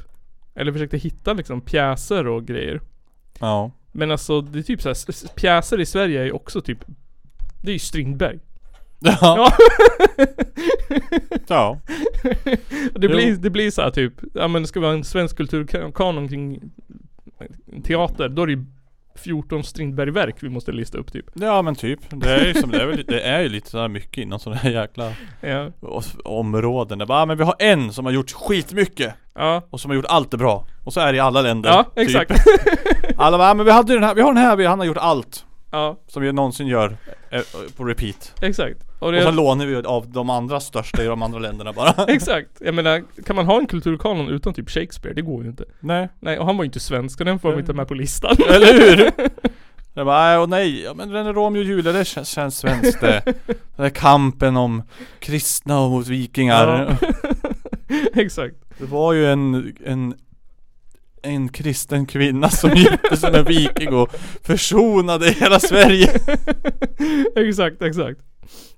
A: Eller försökte hitta liksom pjäser och grejer
B: Ja.
A: Men alltså det är typ såhär, s- s- pjäser i Sverige är ju också typ Det är ju Strindberg
B: (laughs) Ja. ja.
A: Det
B: Jo.
A: blir, det blir så här typ, ja men det ska vara en svensk kulturkanon kring teater, då är det ju 14 Strindbergverk vi måste lista upp typ.
B: Ja men typ. Det är ju som, det är, väl, det är ju lite sådär mycket inom sådana här jäkla
A: Ja.
B: os- områden. Det är bara, ah, men vi har en som har gjort skitmycket.
A: Ja,
B: Och som har gjort allt det bra. Och så är det i alla länder.
A: ja
B: typ.
A: exakt.
B: (laughs) Alla bara, ah, men vi hade ju den här, vi har den här, vi, han har gjort allt.
A: Ja,
B: Som vi någonsin gör. eh, På repeat.
A: exakt. Och
B: Och så
A: det,
B: lånar vi av de andra största i de andra länderna bara.
A: exakt. Jag menar, kan man ha en kulturkanon utan typ Shakespeare? Det går ju inte.
B: Nej.
A: (laughs) Nej, och han var ju inte svensk och den får vi inte med på listan.
B: (laughs) Eller hur? Jag bara, nej, och nej, ja, men den är Romeo och Julia, det känns, känns
A: (laughs)
B: svenskt det. Den där kampen om kristna och mot vikingar.
A: Ja. (laughs) exakt.
B: Det var ju en, en, en kristen kvinna som (laughs) gifte sig med en viking och försonade hela Sverige.
A: (laughs) Exakt, exakt.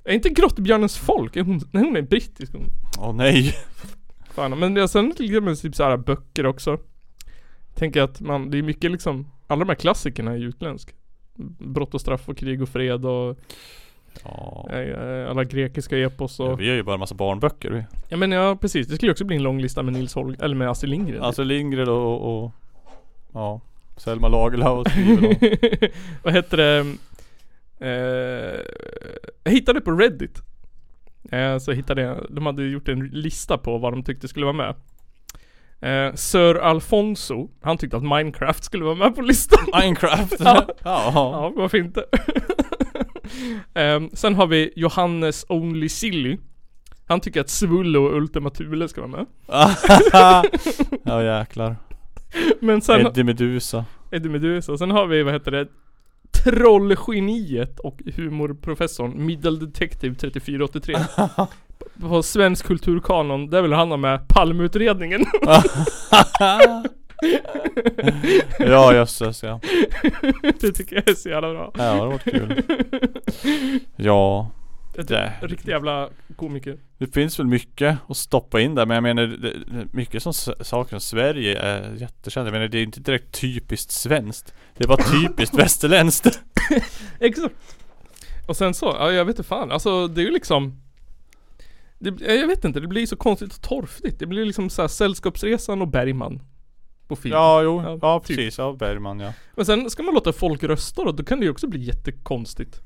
A: Är inte Grottbjörnens folk, är hon, nej, hon är brittisk hon.
B: Åh nej.
A: Fan, men jag sen till exempel typ såhär böcker också. Tänker att man, det är mycket liksom, alla de här klassikerna är ju utländsk. Brott och straff och krig och fred och
B: Ja.
A: eh, eh, alla grekiska epos
B: Ja,
A: och
B: vi har ju bara en massa barnböcker vi.
A: Ja men ja precis, det skulle ju också bli en lång lista med Nils Holg, eller med Astrid Lindgren
B: Alltså Lindgren och, och ja, Selma Lagerlöf och så vidare.
A: (laughs)
B: (laughs)
A: Vad heter det? Eh, jag hittade på Reddit eh, Så hittade jag, de hade gjort en lista på vad de tyckte skulle vara med eh, Sir Alfonso, han tyckte att Minecraft skulle vara med på listan
B: Minecraft.
A: Ja.
B: ja. ja.
A: Ja, varför inte? (laughs) Ehm, sen har vi Johannes Only Silly Han tycker att Svullo och Ultima Thule ska vara med (laughs)
B: (laughs) ja jäklar.
A: Men sen
B: Eddie Medusa.
A: Eddie Meduza. Sen har vi, vad heter det? Trollgeniet och humorprofessorn Middle Detective 3483 P- På svensk kulturkanon, där vill han ha med Palmeutredningen
B: (laughs) Ja jösses ja.
A: (laughs) Det tycker jag är så jävla bra
B: Ja det har
A: (laughs)
B: varit kul. Ja.
A: Ett
B: Det.
A: riktigt jävla komiker
B: Det finns väl mycket att stoppa in där men jag menar det, det, mycket som s- saker som Sverige är jättekänt. Jag menar det är inte direkt typiskt svenskt. Det är bara typiskt västerländskt.
A: Exakt Och sen så, ja, jag vet inte fan, alltså det är ju liksom det, ja, Jag vet inte, det blir så konstigt och torftigt Det blir liksom så här Sällskapsresan och Bergman På film
B: Ja jo,
A: Ja,
B: ja
A: typ.
B: precis. Ja Bergman ja.
A: Men sen ska man låta folk rösta då, då kan det ju också bli jättekonstigt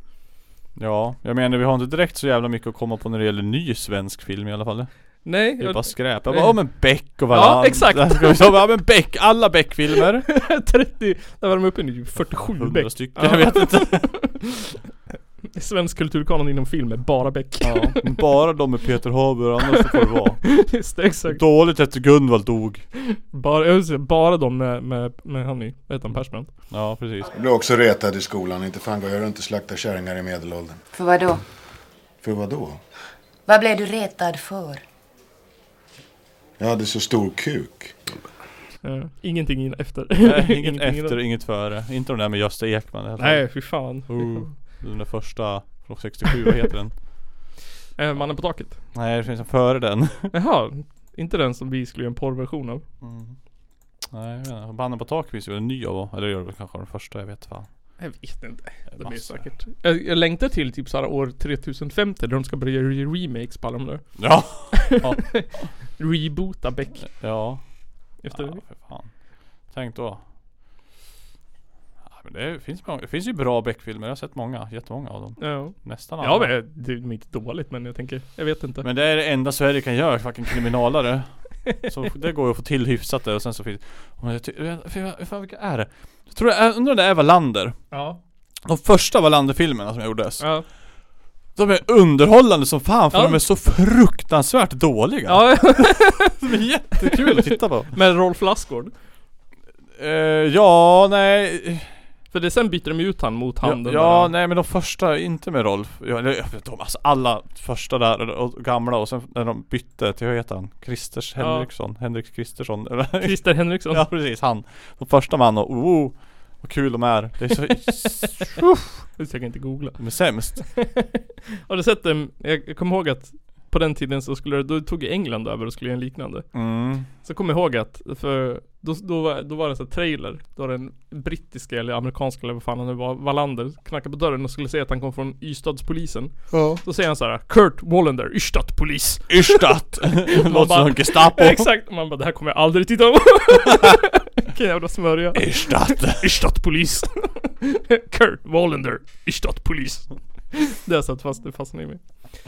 B: Ja, jag menar vi har inte direkt så jävla mycket att komma på när det gäller ny svensk film i alla fall.
A: Nej,
B: Det är
A: jag- (laughs)
B: bara skräp. Jag
A: Nej.
B: bara, ja men Beck och Wallander.
A: Ja, exakt.
B: Där (laughs) ska vi ta- Ja men Beck, alla Beck-filmer.
A: 30, där var de uppe nu, 47
B: 100
A: Beck.
B: stycken, jag vet inte.
A: (laughs) Svensk kulturkanon inom film är bara Beck.
B: Ja, bara de med Peter Haber, annars så får det vara.
A: (laughs) Just det, exakt.
B: Dåligt efter Gunvald dog.
A: Bara, jag vill säga, bara de med, med, med han i, vad heter han, Persbrandt?
B: Ja, precis.
H: Jag blev också retad i skolan. Inte fan går jag runt och slaktar kärringar i medelåldern.
I: För vad då?
H: För vad då?
I: Vad blev du retad för?
H: Jag hade så stor kuk.
A: Eh, ingenting in, efter. (laughs)
B: Nej, inget
A: innan.
B: efter, inget före. Inte de där med Gösta Ekman. heter
A: Nej, fy fan.
B: han. Oh, den där första, från 67, vad heter (laughs) den?
A: Eh, mannen på taket.
B: Nej, det finns en före den.
A: Jaha, inte den som vi skulle göra en porrversion av.
B: Mm. Nej, jag vet inte. Mannen på taket finns ju en ny av, eller gör det väl kanske den första, jag vet fan.
A: Jag vet inte. De är
B: Massa.
A: säkert. Jag, jag längtar till typ såhär år 3050 där de ska börja göra remakes på alla de där.
B: (laughs) Ja!
A: Reboota Beck.
B: Ja.
A: Efter
B: Ja, för fan. Tänk då. Ja, men det, finns många, det finns ju bra Beck-filmer. Jag har sett många. Jättemånga av dem.
A: Ja.
B: Nästan alla.
A: Ja, men det är inte dåligt men jag tänker, jag vet inte.
B: Men det är det enda Sverige kan göra. Fucking kriminalare. Så det går ju att få till hyfsat där och sen så finns men jag ty- jag- fy fan, fan, vilka är det? Jag tror det är, undrar om det är Wallander.
A: Ja.
B: De första Wallander-filmerna som gjordes.
A: Ja.
B: De är underhållande som fan för
A: Ja.
B: de är så fruktansvärt dåliga.
A: ja. (laughs)
B: De är jättekul att titta på.
A: Med Rolf Lassgård.
B: Eh, ja, nej.
A: För det, sen byter de ut han mot han
B: Ja,
A: den
B: ja
A: där.
B: nej men de första, inte med Rolf. Ja, eller, jag vet, de, alltså alla första där och, och gamla och sen när de bytte till, vad heter han? Christers
A: Ja.
B: Henriksson? Henrik Kristersson? (laughs) eller?
A: Christer Henriksson.
B: ja precis, han. De första man och oh, vad kul de är. Det är så, uff,
A: Det ska jag inte googla. (laughs)
B: de är sämst.
A: Har du sett dem? Jag jag kommer ihåg att på den tiden så skulle det- då tog ju England över och skulle göra en liknande.
B: Mm.
A: Så kommer jag ihåg att, för då, då, var, då var det en sån här trailer. Då var den brittiska eller amerikanska eller vad fan han nu var, Wallander, knackade på dörren och skulle säga att han kom från Ystadspolisen.
B: Ja.
A: Då säger han så här: Kurt Wallander, Ystadpolis. (laughs)
B: Ystad!
A: Man
B: Låter
A: bara-
B: som Gestapo.
A: (laughs) Exakt, och man bara det här kommer jag aldrig titta på. (laughs) Vilken jävla smörja.
B: Ystad!
A: Ystadpolis. (laughs) Kurt Wallander, Ystadpolis. (laughs) Det har satt fast, det fastnar i mig.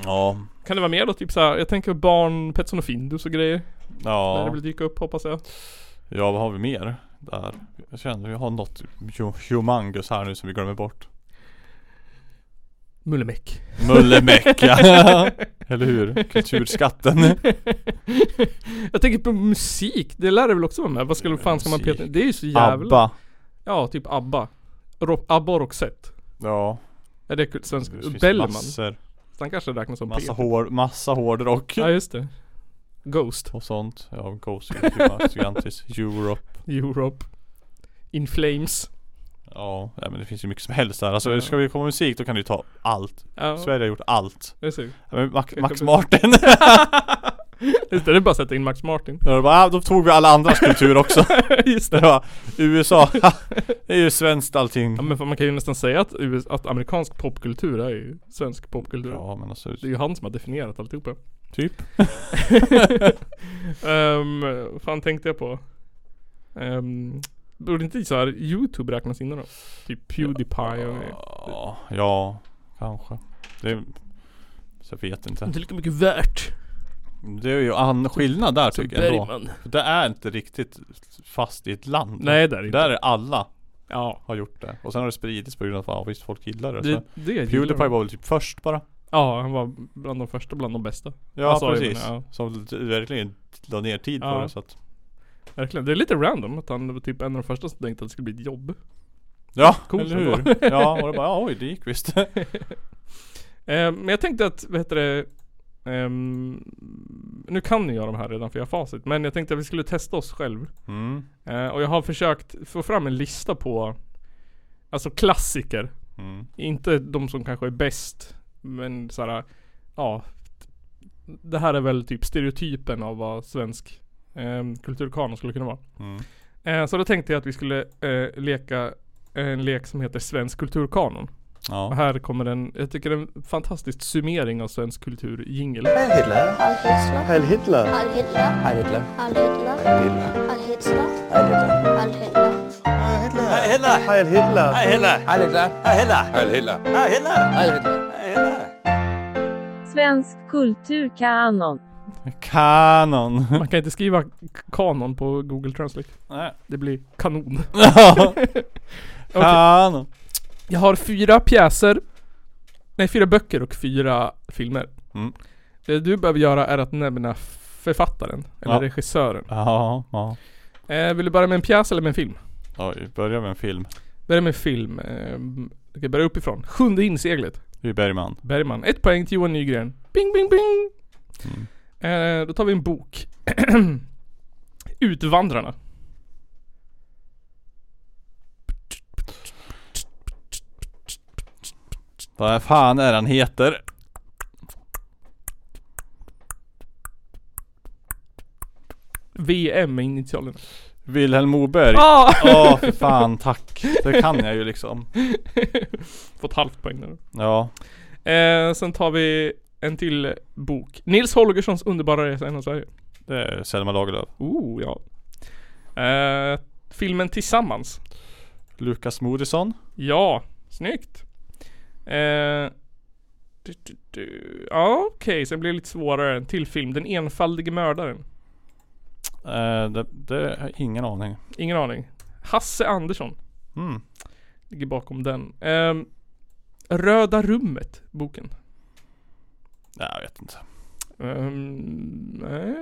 B: Ja.
A: Kan det vara mer då? Typ såhär, jag tänker barn, Petson och Findus och grejer. När det
B: Ja.
A: vill dyka upp hoppas jag.
B: Ja, vad har vi mer? Där. Jag känner vi har något hu- humangus här nu som vi glömmer bort.
A: Mullemäck.
B: Mullemecka!
A: (laughs)
B: Eller hur? Kulturskatten.
A: (laughs) jag tänker på musik, det lär det väl också vara med? Vad skulle fan ska man peta Det är ju så jävla...
B: Abba.
A: Ja, typ ABBA. Ro- ABBA och Roxette.
B: Ja.
A: Är det kul- svensk?
B: Det finns
A: Bellman.
B: massor.
A: Han kanske räknas som
B: Massa
A: P.
B: hår, massa hårdrock.
A: Ja just det. Ghost.
B: Och sånt. Ja, Ghost Gigantis, Europe.
A: Europe. In Flames.
B: Ja, ja, men det finns ju mycket som helst där. Alltså ska vi komma med musik då kan du ju ta allt.
A: Ja,
B: Sverige har gjort allt.
A: det är så.
B: Ja, men Max,
A: (laughs) Jag
B: Max
A: kan-
B: Martin.
A: Just det, det är bara att sätta in Max
B: (laughs)
A: Martin.
B: Ja, då bara, ah, då tog vi alla andras kultur också.
A: Just
B: Det
A: det.
B: var USA, (laughs) det är ju svenskt allting.
A: Ja, men fan, man kan ju nästan säga att, US att amerikansk popkultur är ju svensk popkultur.
B: Ja men alltså,
A: Det är ju han som har definierat alltihopa.
B: typ.
A: um, vad fan tänkte jag på? Um, borde inte så här YouTube räknas in då? Typ Pewdiepie och...
B: Ja, ja kanske. Det är, så jag vet inte.
A: lika mycket värt
B: Det är ju en skillnad där tycker jag ändå. Det är inte riktigt fast i ett land.
A: Nej, det är det inte.
B: Där är alla
A: Ja.
B: har gjort det. Och sen har det spridits på grund av att ja, visst folk gillar det.
A: Det,
B: så.
A: det gillar
B: Pewdiepie
A: jag.
B: var väl typ först bara.
A: Ja, han var bland de första, bland de bästa.
B: Ja
A: Alltså, jag
B: precis.
A: menar, ja.
B: Som verkligen la ner tid på
A: Ja.
B: det så att
A: Verkligen. Det är lite random att han var typ en av de första som tänkte att det skulle bli ett jobb.
B: Ja,
A: Coolt
B: eller
A: ändå.
B: hur? Ja, och det bara oj det
A: (laughs)
B: gick visst.
A: Eh, men jag tänkte att, vad heter det? ehm, nu kan ni göra de här redan för jag har facit. Men jag tänkte att vi skulle testa oss själv.
B: Mm.
A: Eh, och jag har försökt få fram en lista på Alltså klassiker.
B: Mm.
A: Inte de som kanske är bäst. Men såhär, ja. Det här är väl typ stereotypen av vad svensk eh, kulturkanon skulle kunna vara.
B: Mm.
A: Eh, så då tänkte jag att vi skulle eh, leka en lek som heter Svensk kulturkanon. Och
B: Ja.
A: här kommer en, jag tycker en fantastisk summering av svensk kultur jingel.
E: Heil Hitler. Heil Hitler.
D: Svensk kulturkanon.
B: Kanon. (laughs)
A: Man kan inte skriva kanon på google translate.
B: Nej.
A: Det blir kanon.
B: Kanon.
A: Jag har fyra pjäser Nej, fyra böcker och fyra filmer.
B: Mm.
A: Det du behöver göra är att nämna författaren, eller
B: Ja.
A: regissören.
B: Ja, ja.
A: Eh, vill du börja med en pjäs eller med en film?
B: Oj, börja med en film.
A: Börja med film. Eh, okej, börja uppifrån. Sjunde inseglet.
B: Det är Bergman.
A: Bergman. Ett poäng till Johan Nygren. Bing, bing, bing!
B: Mm.
A: Eh, då tar vi en bok. (clears throat) Utvandrarna.
B: Vad fan är han heter?
A: VM med initialerna.
B: Wilhelm Moberg. Åh
A: Ah! (laughs)
B: för fan tack. Det kan jag ju liksom.
A: Fått halvt poäng där.
B: Ja.
A: Eh, sen tar vi en till bok. Nils Holgerssons underbara resa genom Sverige.
B: Det är Selma Lagerlöf.
A: Oh, ja. Eh, filmen Tillsammans.
B: Lukas Moodysson.
A: Ja, snyggt. Eh, du, du, du. Ja, okej. Sen blir det lite svårare. En till film. Den enfaldige mördaren.
B: Eh, det, det har jag ingen aning.
A: Ingen aning. Hasse Andersson.
B: Mm.
A: Ligger bakom den. Ehm, Röda rummet, boken.
B: Nej, jag vet inte.
A: Ehm, nej.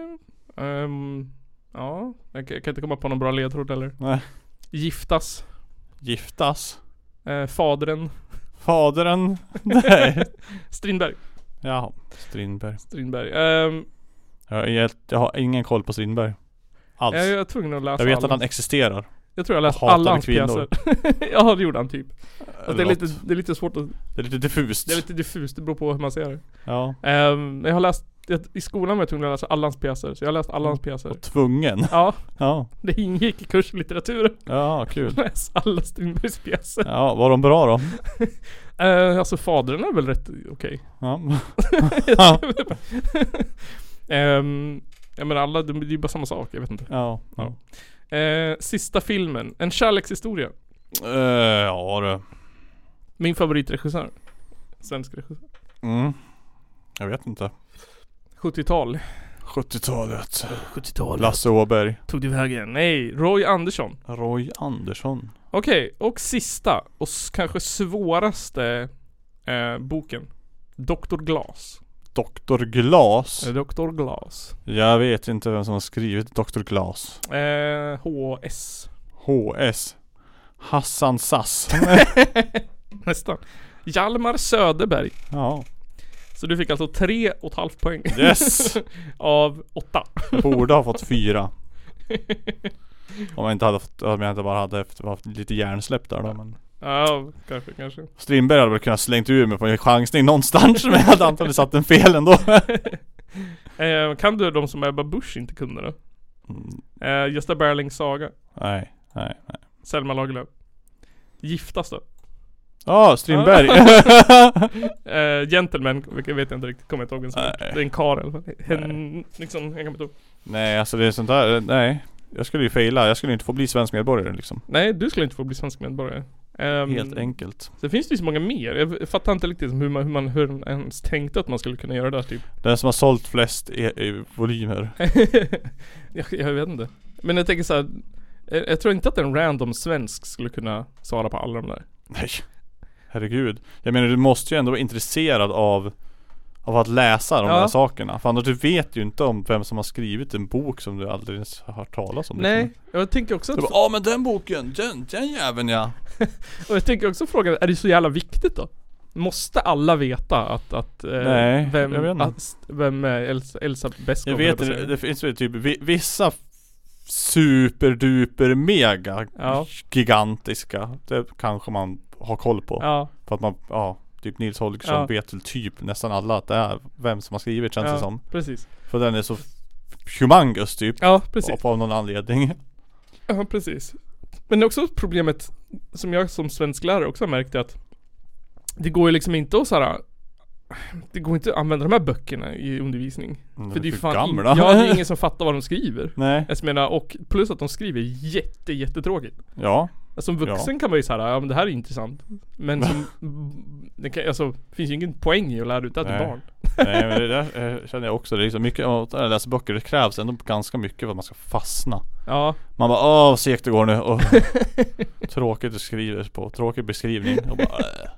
A: Ehm, ja, jag kan jag kan inte komma på någon bra ledtråd eller.
B: Nej.
A: Giftas.
B: Giftas.
A: Eh, fadren.
B: Fadern. (laughs) Nej.
A: Strindberg.
B: Jaha. Strindberg.
A: Strindberg. Ehm,
B: Jag, har helt- jag har ingen koll på Strindberg. Alls.
A: jag, jag är tvungen att läsa
B: Jag vet
A: alla.
B: att han existerar.
A: Jag tror jag läste
B: hatar
A: alla hans
B: kvinnor.
A: pjäser. (laughs) ja, det gjorde han typ. Fast det, är
B: Eller
A: lite,
B: något.
A: det är lite svårt att...
B: det är lite diffust.
A: Det är lite diffust, det beror på hur man ser det.
B: Ja.
A: Ehm, jag har läst... jag- I skolan var jag tvungen att läsa alla hans pjäser, så jag har läst alla hans pjäser.
B: Och tvungen.
A: Ja,
B: Ja.
A: det ingick i kursen i litteratur.
B: Ja, kul.
A: Läs alla Strindbergs pjäser.
B: Ja, var de bra då?
A: Eh, alltså fadren är väl rätt okej.
B: Ja.
A: (laughs) Ehm, jag menar alla, de- det är ju bara samma sak, jag vet inte.
B: Ja.
A: Ja. Eh, sista filmen, En kärlekshistoria.
B: Eh, ja du.
A: Min favoritregissör. Svensk regissör.
B: Mm. Jag vet inte.
A: 70-tal.
B: 70-talet.
A: 70-tal.
B: Lasse Åberg.
A: Tog du vägen? Nej, Roy Andersson.
B: Roy Andersson.
A: Okej, och sista och s- kanske svåraste eh, boken. Dr. Glas.
B: Dr. Glas.
A: Eh, Dr. Glas.
B: Jag vet inte vem som har skrivit Dr. Glas.
A: Eh, HS.
B: HS. Hassan Sass.
A: Nästan. Hjalmar Söderberg.
B: ja.
A: Så du fick alltså tre och ett halvt poäng
B: Yes!
A: (laughs) av åtta.
B: Jag borde ha fått fyra. Om jag inte hade fått, om jag inte bara hade haft, haft lite hjärnsläpp där då men
A: Ja, kanske, kanske.
B: Strindberg hade väl kunnat slängt ur mig på en chansning någonstans men jag hade antagligen satt den fel ändå.
A: (laughs) Eh, kan du de som Ebba Busch inte kunde då?
B: Mm,
A: Eh, Gösta Berlings saga.
B: nej, nej, nej.
A: Selma Lagerlöf. Giftas då?
B: Ja, Strindberg.
A: Eh, gentleman, vilket vet jag inte riktigt, kommer jag inte ihåg ens.
B: Nej.
A: Det är en karl i alla fall. Hen, liksom, jag kommer inte ihåg.
B: (laughs) nej, alltså det är sånt där. Nej. Jag skulle ju faila. Jag skulle inte få bli svensk medborgare liksom.
A: Nej, du skulle inte få bli svensk medborgare. Ehm,
B: Helt enkelt.
A: Sen finns det ju så många mer. Jag fattar inte riktigt hur man, hur man hur man ens tänkte att man skulle kunna göra det här, typ. (laughs)
B: Den som har sålt flest e- e- volymer.
A: jag, jag vet inte. Men jag tänker så här. Jag, jag tror inte att en random svensk skulle kunna svara på alla de där.
B: Nej. Herregud. Jag menar du måste ju ändå vara intresserad av av att läsa de
A: Ja.
B: här sakerna. För annars du vet ju inte om vem som har skrivit en bok som du aldrig ens har hört talas om.
A: Nej,
B: Liksom.
A: jag tänker också
B: Du bara,
A: att,
B: ja men den boken, den, den jäveln ja.
A: och jag tänker också frågan, är det så jävla viktigt då? Måste alla veta att, att eh,
B: Nej,
A: vem,
B: jag vet inte.
A: att, vem eh, Elsa, Elsa Beskow
B: Jag
A: höll
B: vet
A: på att
B: det,
A: säga.
B: det finns väl typ vi- vissa superduper mega
A: Ja.
B: gigantiska. Det kanske man har koll på.
A: Ja,
B: För att man, ja. Typ Nils Holgersson
A: Ja.
B: vet väl typ nästan alla att det är vem som har skrivit känns det
A: ja
B: som.
A: precis.
B: För den är så humangus typ.
A: Ja, precis.
B: Av någon anledning.
A: Ja, precis. Men det är också problemet som jag som svensk lärare också har märkt är att det går ju liksom inte att så här. Det går inte att använda de här böckerna i undervisning.
B: Mm,
A: För det är ju fan
B: för gamla.
A: In, ja,
B: (laughs)
A: det är ingen som fattar vad de skriver.
B: Nej.
A: Jag menar, och plus att de skriver jätte, jättetråkigt.
B: Ja.
A: Som vuxen kan man ju säga ja men det här är intressant. Men
B: (laughs)
A: som, det kan, alltså, finns ju ingen poäng i att lära ut det här till
B: Nej.
A: barn.
B: Nej men det där eh, känner jag också. Det är liksom mycket, om man läser böcker, det krävs ändå ganska mycket för att man ska fastna.
A: Ja,
B: Man bara åh vad segt det går nu.
A: (laughs)
B: Åh. Tråkigt du skriver på. Tråkig beskrivning. Och bara, äh.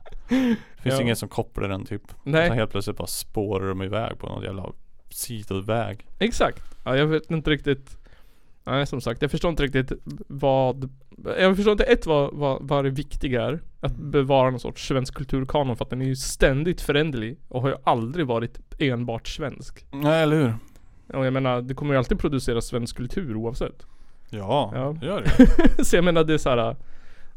B: Det finns
A: Ja.
B: ingen som kopplar den typ.
A: Nej.
B: Utan helt plötsligt bara spårar de iväg på någon jävla sidoväg.
A: exakt. Ja, jag vet inte riktigt. Nej som sagt, jag förstår inte riktigt vad Jag förstår inte ett vad, vad, vad det viktiga är. Att
B: Mm.
A: bevara någon sorts svensk kulturkanon för att den är ju ständigt föränderlig och har ju aldrig varit enbart svensk.
B: Nej eller hur?
A: Och jag menar, det kommer ju alltid producera svensk kultur oavsett. (laughs)
B: Ja,
A: Ja.
B: det gör det.
A: Så jag menar det är såhär,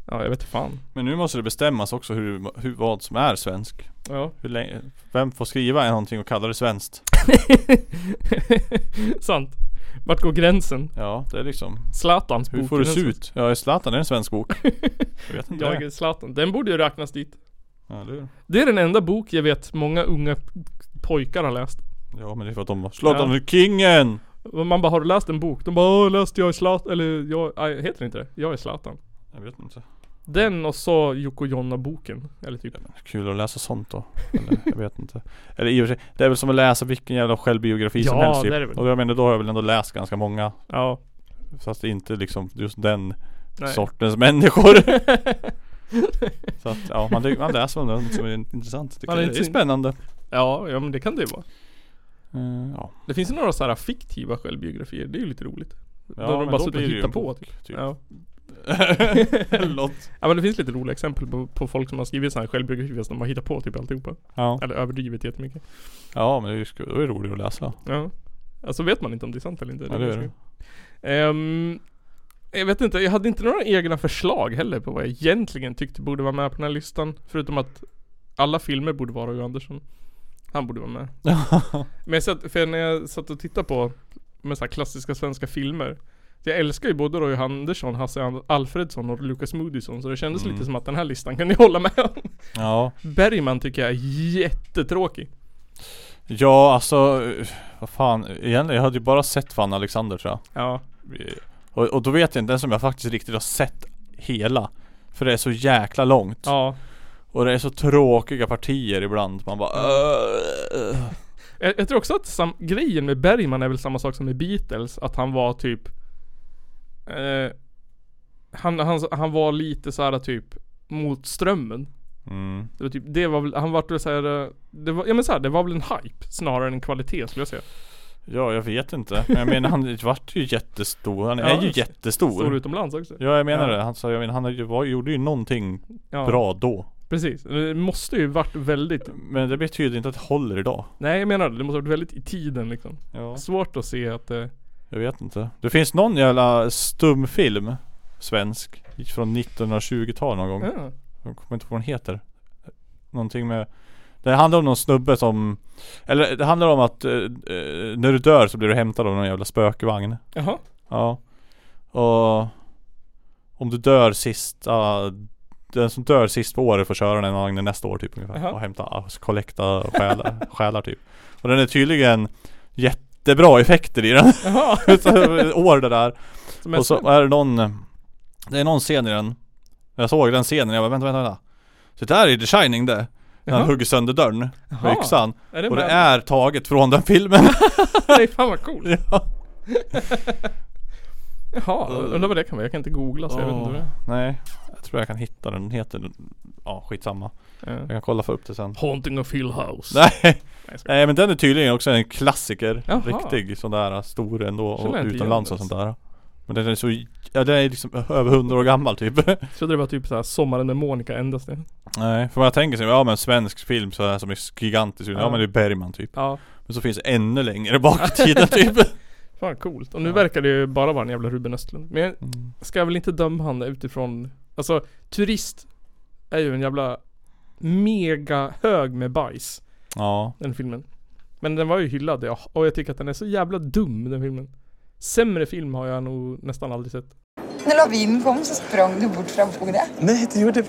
A: ja jag vet fan.
B: Men nu måste det bestämmas också hur, hur, vad som är svensk.
A: Ja. (laughs)
B: Hur länge, vem får skriva någonting och kalla det svenskt?
A: Sant. Vart går gränsen?
B: Ja, det är liksom
A: Zlatans
B: Hur
A: bok,
B: får det
A: den
B: se
A: som-
B: ut? Ja, är Zlatan är en
A: (laughs)
B: svensk bok? Jag vet inte
A: Jag
B: det.
A: är Zlatan. Den borde ju räknas dit.
B: Ja, det är...
A: Det är den enda bok jag vet många unga pojkar har läst.
B: ja, men det är för att de var Zlatan är kingen!
A: Och Man bara, har du läst en bok? De bara, "Åh, läste jag är Zlatan, eller jag, nej, heter det inte det? Jag är Zlatan.
B: Jag vet inte.
A: Den och så Yoko Jonna-boken. Eller typ.
B: Kul att läsa sånt då. Eller, jag vet inte. Eller i och för sig, det är väl som att läsa vilken jävla självbiografi som
A: Ja,
B: helst typ.
A: det är det väl.
B: Och jag menar, då har jag väl ändå läst ganska många.
A: Ja. (laughs)
B: Fast det är inte liksom just den
A: Nej.
B: sortens människor. (laughs) Så att, ja, man, lä- man läser väl den som är intressant. Det,
A: Man
B: kan,
A: är
B: det är
A: inte-
B: spännande.
A: Ja, ja men det kan det ju vara.
B: Eh,
A: (laughs)
B: ja.
A: Det finns ju några så här fiktiva självbiografier. Det är ju lite roligt.
B: Ja,
A: Då har de
B: men
A: bara
B: då
A: suttit och
B: blir det ju
A: hittat
B: en
A: på.
B: bok,
A: Typ.
B: typ.
A: Ja.
B: Eller något.
A: ja men det finns lite roliga exempel på, på folk som har skrivit sådana här självbiografier fast de har hittat på typ alltihopa.
B: Ja.
A: Eller överdrivet jättemycket.
B: ja, men det är ju sku- då är det roligt att läsa. (laughs)
A: Ja. Alltså vet man inte om det är sant eller inte.
B: Ja, det är det.
A: Ehm, jag vet inte, jag hade inte några egna förslag heller på vad jag egentligen tyckte borde vara med på den här listan. Förutom att alla filmer borde vara Roy Andersson. Han borde vara med. Men jag satt, för när jag satt och tittade på med så här klassiska svenska filmer. Jag älskar ju både Roy Andersson, Hasse An- Alfredsson och Lukas Moodysson. Så det kändes
B: Mm.
A: lite som att den här listan kan ni (laughs) hålla med om.
B: Ja.
A: Bergman tycker jag är jättetråkig.
B: Ja, alltså eh, vad fan, egentligen, jag hade ju bara sett Fan Alexander tror jag.
A: Ja.
B: Eh, Och, och då vet jag inte ens om jag faktiskt riktigt har sett hela. För det är så jäkla långt.
A: Ja.
B: Och det är så tråkiga partier ibland. Man bara
A: Mm.
B: "Äh." "Åh."
A: Jag, jag tror också att sam- grejen med Bergman är väl samma sak som med Beatles, att han var typ eh, han, han, han var lite så här typ mot strömmen.
B: mm.
A: Det var typ, det var väl, han vart väl såhär, eh, det var, ja men så här, det var väl en hype snarare än en kvalitet skulle jag säga.
B: Ja, jag vet inte. Men jag menar han vart ju jättestor. Han
A: Ja,
B: är ju
A: just det.
B: jättestor.
A: Står utomlands också.
B: Ja, jag menar
A: Ja.
B: det. Han, så, jag menar, han har ju- var, gjorde ju någonting
A: Ja,
B: bra då.
A: Precis. Det måste ju varit väldigt,
B: Men det betyder inte att det håller idag.
A: nej jag menar det, det måste ha varit väldigt i tiden liksom.
B: Ja.
A: Svårt att se att eh,
B: Jag vet inte. Det finns någon jävla stumfilm Svensk Från 1920-tal någon gång
A: ja.
B: Jag kommer inte ihåg vad den heter Någonting med Det handlar om någon snubbe som Eller det handlar om att eh, eh, När du dör så blir du hämtad av någon jävla spökvagn
A: Jaha.
B: Ja Och Om du dör sist ja, Den som dör sist på året får köra den vagnen nästa år typ ungefär
A: Jaha.
B: Och hämta, alltså, kollekta själar, själar typ Och den är tydligen Jättebra effekter i den (laughs)
A: Jaha.
B: Så, eh, År det där
A: (laughs) Som
B: och så är det någon Det är någon scen i den Jag såg den scenen, jag bara vänta vänta vänta Så där är The Shining det När han
A: Jaha.
B: hugger sönder dörren
A: Jaha.
B: med yxan
A: Är det
B: Och det
A: med?
B: är taget från den filmen (laughs)
A: (laughs) Nej fan vad coolt.
B: ja.
A: (laughs) Jaha, undrar vad det kan vara. Jag kan inte googla så jag vet inte vad det är.
B: Nej Jag tror jag kan hitta den, den heter Ja skitsamma
A: Ja.
B: Jag kan kolla för upp det sen (laughs)
A: Haunting of Hill House.
B: Nej
A: jag skojar.
B: Nej men den är tydligen också en klassiker
A: Jaha.
B: Riktig sån där äh, stor ändå och
A: Känner jag inte
B: utomlands och
A: igen
B: sånt där Men den är så Ja den är liksom över hundra år gammal typ (laughs)
A: Jag trodde det var typ såhär Sommaren med Monica endast det.
B: Nej för jag tänker sig Ja men svensk film så här som är gigantisk Ja,
A: Ja.
B: men det är Bergman typ
A: Ja.
B: Men så finns det ännu längre bak i
A: (laughs)
B: tiden typ
A: Fan coolt. Och nu verkar det ju bara vara en jävla Ruben Östlund. Men jag ska jag väl inte döma han utifrån Alltså turist är ju en jävla mega hög med bajs.
B: Ja
A: Den filmen. Men den var ju hyllad ja. och jag tycker att den är så jävla dum den filmen. Sämre film har jag nog nästan aldrig sett.
I: När lavinen kom så sprang du bort från bordet.
E: Nej, det gjorde,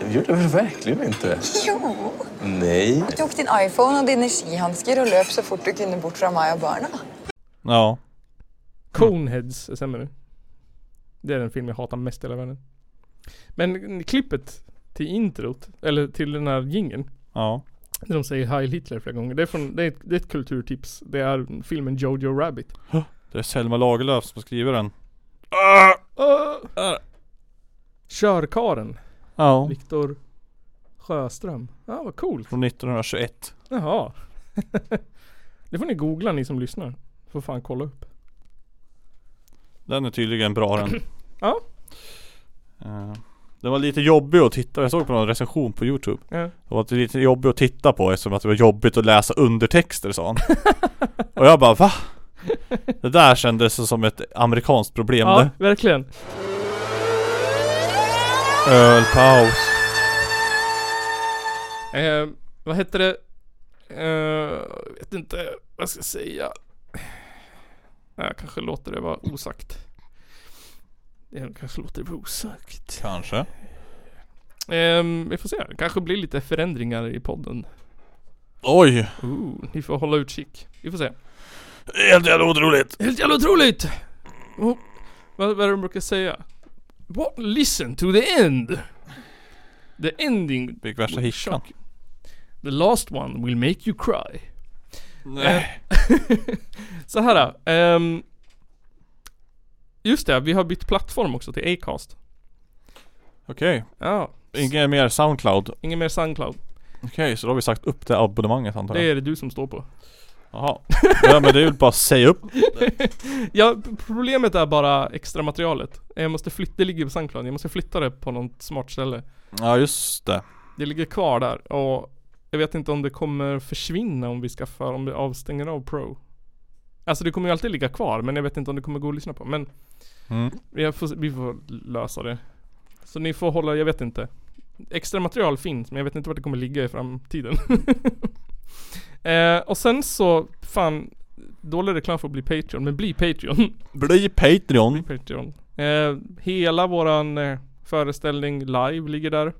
E: det gjorde väl verkligen inte.
I: Jo!
E: Nej.
I: Du tog din iPhone och dina skihandskar och löp så fort du kunde bort från mig och barnen.
B: Ja
A: Coneheads är sämre. Det är den film jag hatar mest i hela världen. Men klippet till introt, eller till den här jingeln.
B: Ja
A: Där de säger Heil Hitler flera gånger. Det är, från, det är, ett, det är ett kulturtips. Det är filmen Jojo Rabbit.
B: Det är Selma Lagerlöf som skriver den
A: Uh. Körkaren.
B: Ja
A: Viktor Sjöström. Ja, vad coolt.
B: Från 1921
A: Jaha. (laughs) det får ni googla ni som lyssnar. Får fan kolla upp.
B: Den är tydligen bra den
A: (clears throat) Ja.
B: Eh, Den var lite jobbig att titta Jag såg på någon recension på youtube
A: Ja.
B: Det var lite jobbigt att titta på eftersom att det var jobbigt att läsa undertexter
A: (laughs)
B: sa han Och jag bara va? Det där kändes som ett amerikanskt problem
A: Ja,
B: det
A: verkligen.
B: Ölpaus
A: Eh, vad heter det? Eh, jag vet inte vad jag ska säga. Nej, Jag kanske låter det vara osagt. Jag kanske låter det vara osagt.
B: Kanske
A: Ehm, vi får se. Det kanske blir lite förändringar i podden.
B: Oj!
A: Ooh, ni får hålla utkik. Vi får se.
B: Helt jävla otroligt!
A: Helt jävla otroligt! Oh, vad, vad är det de brukar säga? What? Listen to the end! The ending,
B: Fick värsta hickan
A: the last one will make you cry. Eh,
B: Nej
A: Så här. ehm, just det, vi har bytt plattform också till Acast.
B: Okej
A: Ja,
B: Inget mer Soundcloud. Okej,
A: inget mer Soundcloud.
B: så då har vi sagt upp det abonnemanget antar
A: Det
B: jag.
A: är det du som står på.
B: Jaha. Ja men det är väl bara att säga upp.
A: Ja, p- problemet är bara extra materialet. Jag måste flytta, det ligger på Soundcloud. Jag måste flytta det på något smart ställe.
B: Ja just det.
A: Det ligger kvar där och jag vet inte om det kommer försvinna om vi skaffar, om vi avstänger av Pro. Alltså det kommer ju alltid ligga kvar men jag vet inte om det kommer gå att lyssna på. Men
B: Mm.
A: jag får, vi får lösa det. Så ni får hålla, jag vet inte. Extra material finns men jag vet inte vart det kommer ligga i framtiden. (laughs) eh, och sen så, fan, dålig reklam för att bli Patreon, men bli Patreon. (laughs)
B: Bli Patreon.
A: Patreon. Eh, hela våran eh, föreställning live ligger där.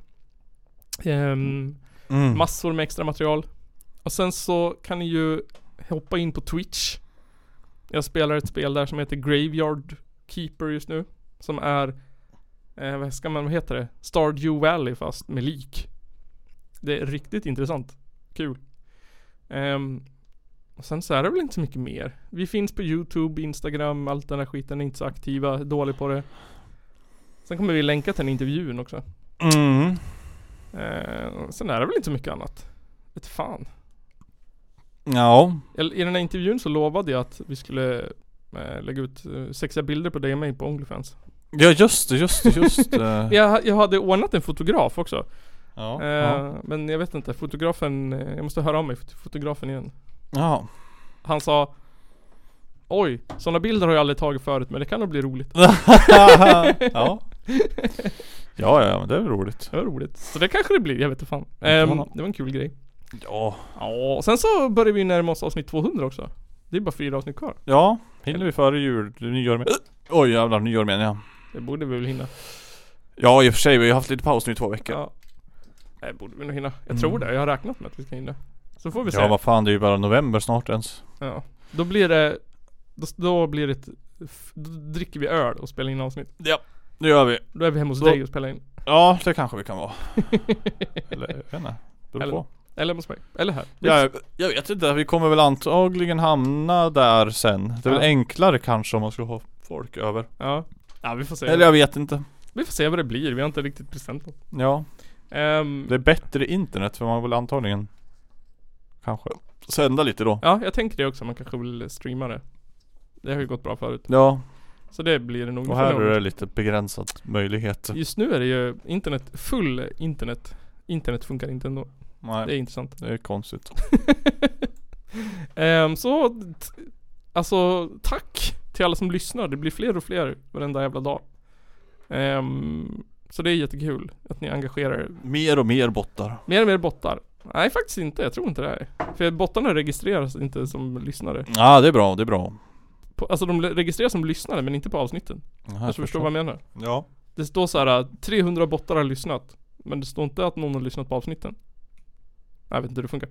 A: Ehm,
B: Mm.
A: Massor med extra material. Och sen så kan ni ju hoppa in på Twitch. Jag spelar ett spel där som heter Graveyard Keeper just nu. Som är, eh, vad ska man, vad heter det? Stardew Valley fast med lik. Det är riktigt intressant. Kul. Ehm, och sen så är det väl inte så mycket mer. Vi finns på YouTube, Instagram, allt den där skiten. Är inte så aktiva, är dålig på det. Sen kommer vi länka till den intervjun också.
B: Mm.
A: Eh, sen är det väl inte så mycket annat. Vet fan.
B: Ja.
A: Eller, I den här intervjun så lovade jag att vi skulle eh, lägga ut eh, sexiga bilder på dig och mig på Onlyfans.
B: Ja just det, just det,
A: (laughs)
B: just det.
A: Jag, jag hade ordnat en fotograf också.
B: Ja.
A: Eh,
B: Ja.
A: Men jag vet inte, fotografen, eh, jag måste höra om mig till fotografen igen. (laughs)
B: ja.
A: Han sa Oj, sådana bilder har jag aldrig tagit förut men det kan nog bli roligt.
B: ja. Ja, ja, men det är väl roligt.
A: Det var roligt. Så det kanske det blir, jag vet inte fan.
B: Inte
A: Ehm,
B: honom.
A: det var en kul grej.
B: Ja.
A: Ja, och sen så börjar vi närma oss avsnitt 200 också. Det är bara fyra avsnitt kvar.
B: Ja. Hinner vi före jul? Nyår med. Oj jävlar, nyår menar jag.
A: Det borde vi väl hinna.
B: Ja i och för sig, vi har haft lite paus nu i två veckor.
A: Ja. Nej, borde vi nog hinna. Jag tror det. Jag har räknat med att vi ska hinna. Så får vi se.
B: Ja vad fan, det är ju bara november snart ens.
A: Ja. Då blir det... Då, då blir det... ett- f- Då dricker vi öl och spelar in avsnitt.
B: Ja, det gör vi.
A: Då är vi hemma hos
B: Då-
A: dig och spelar in. (laughs)
B: Ja, det kanske vi kan vara. Eller jag vet inte. Beror
A: Eller-
B: på.
A: Eller hemma hos mig. Eller här.
B: Jag, jag vet inte, vi kommer väl antagligen hamna där sen. Det är
A: Ja.
B: väl enklare kanske om man skulle ha folk över.
A: Ja. Ja, vi får se.
B: Eller jag vet inte.
A: Vi får se vad det blir. Vi har inte riktigt bestämt något.
B: Ja,
A: Ehm,
B: det är bättre internet för man vill antagligen kanske sända lite då.
A: Ja, jag tänker det också. Man kanske vill streama det. Det har ju gått bra förut.
B: Ja,
A: Så det blir det nog.
B: och
A: Vi får
B: här
A: nog-
B: är det lite begränsad möjlighet.
A: Just nu är det ju internet, full internet. Internet funkar inte ändå. Det är
B: Nej,
A: intressant.
B: det är konstigt.
A: (laughs) Ehm, så, t- alltså tack till alla som lyssnar. Det blir fler och fler varenda jävla dag. Ehm, så det är jättekul att ni engagerar er.
B: Mer och mer bottar.
A: Mer och mer bottar. Nej faktiskt inte, jag tror inte det. Här. För bottarna registreras inte som lyssnare.
B: Ja, det är bra, det är bra.
A: På, alltså de le- registreras som lyssnare men inte på avsnitten.
B: Ja,
A: Jag förstår vad jag menar.
B: Ja.
A: Det står så här 300 bottar har lyssnat. Men det står inte att någon har lyssnat på avsnitten. Jag vet inte hur det funkar.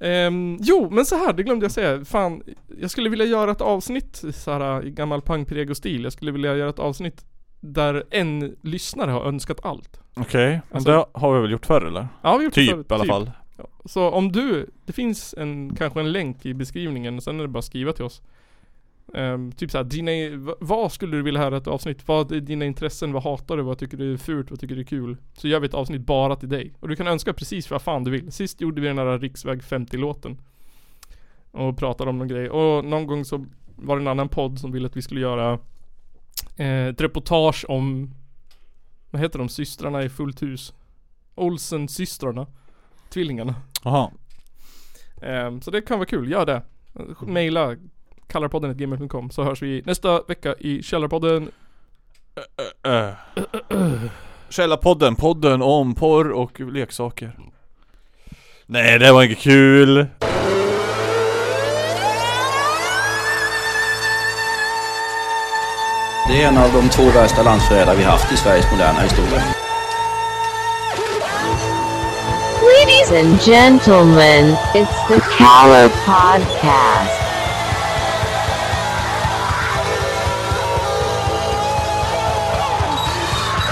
A: Ehm, jo, men så här, det glömde jag säga. Fan, jag skulle vilja göra ett avsnitt i så här äh, i gammal pang-prego-stil. Jag skulle vilja göra ett avsnitt där en lyssnare har önskat allt.
B: Okej, men
A: Alltså-
B: det har vi väl gjort förr eller?
A: Ja, vi har gjort det
B: Typ
A: förut.
B: i alla fall.
A: Ja. Så om du, det finns en, kanske en länk i beskrivningen och sen är det bara att skriva till oss. Ehm, typ såhär, dina, v- vad skulle du vilja höra ett avsnitt? Vad är dina intressen? Vad hatar du? Vad tycker du är fult? Vad tycker du är kul? Så gör vi ett avsnitt bara till dig. Och du kan önska precis vad fan du vill. Sist gjorde vi den här riksväg 50-låten. Och pratade om någon grej. Och någon gång så var det en annan podd som ville att vi skulle göra eh, ett reportage om, vad heter de, systrarna i fullt hus? Olsen-systrarna. Tvillingarna.
B: Jaha.
A: Ehm, så det kan vara kul, gör det. Maila kallarpodden.gmail.com så hörs vi nästa vecka i Källarpodden.
B: Äh. Källarpodden, podden om porr och leksaker. Nej, det var inget kul.
C: Det är en av de två värsta landsförrädare vi haft i Sveriges moderna historia.
J: Ladies and gentlemen, it's the Caller Podcast.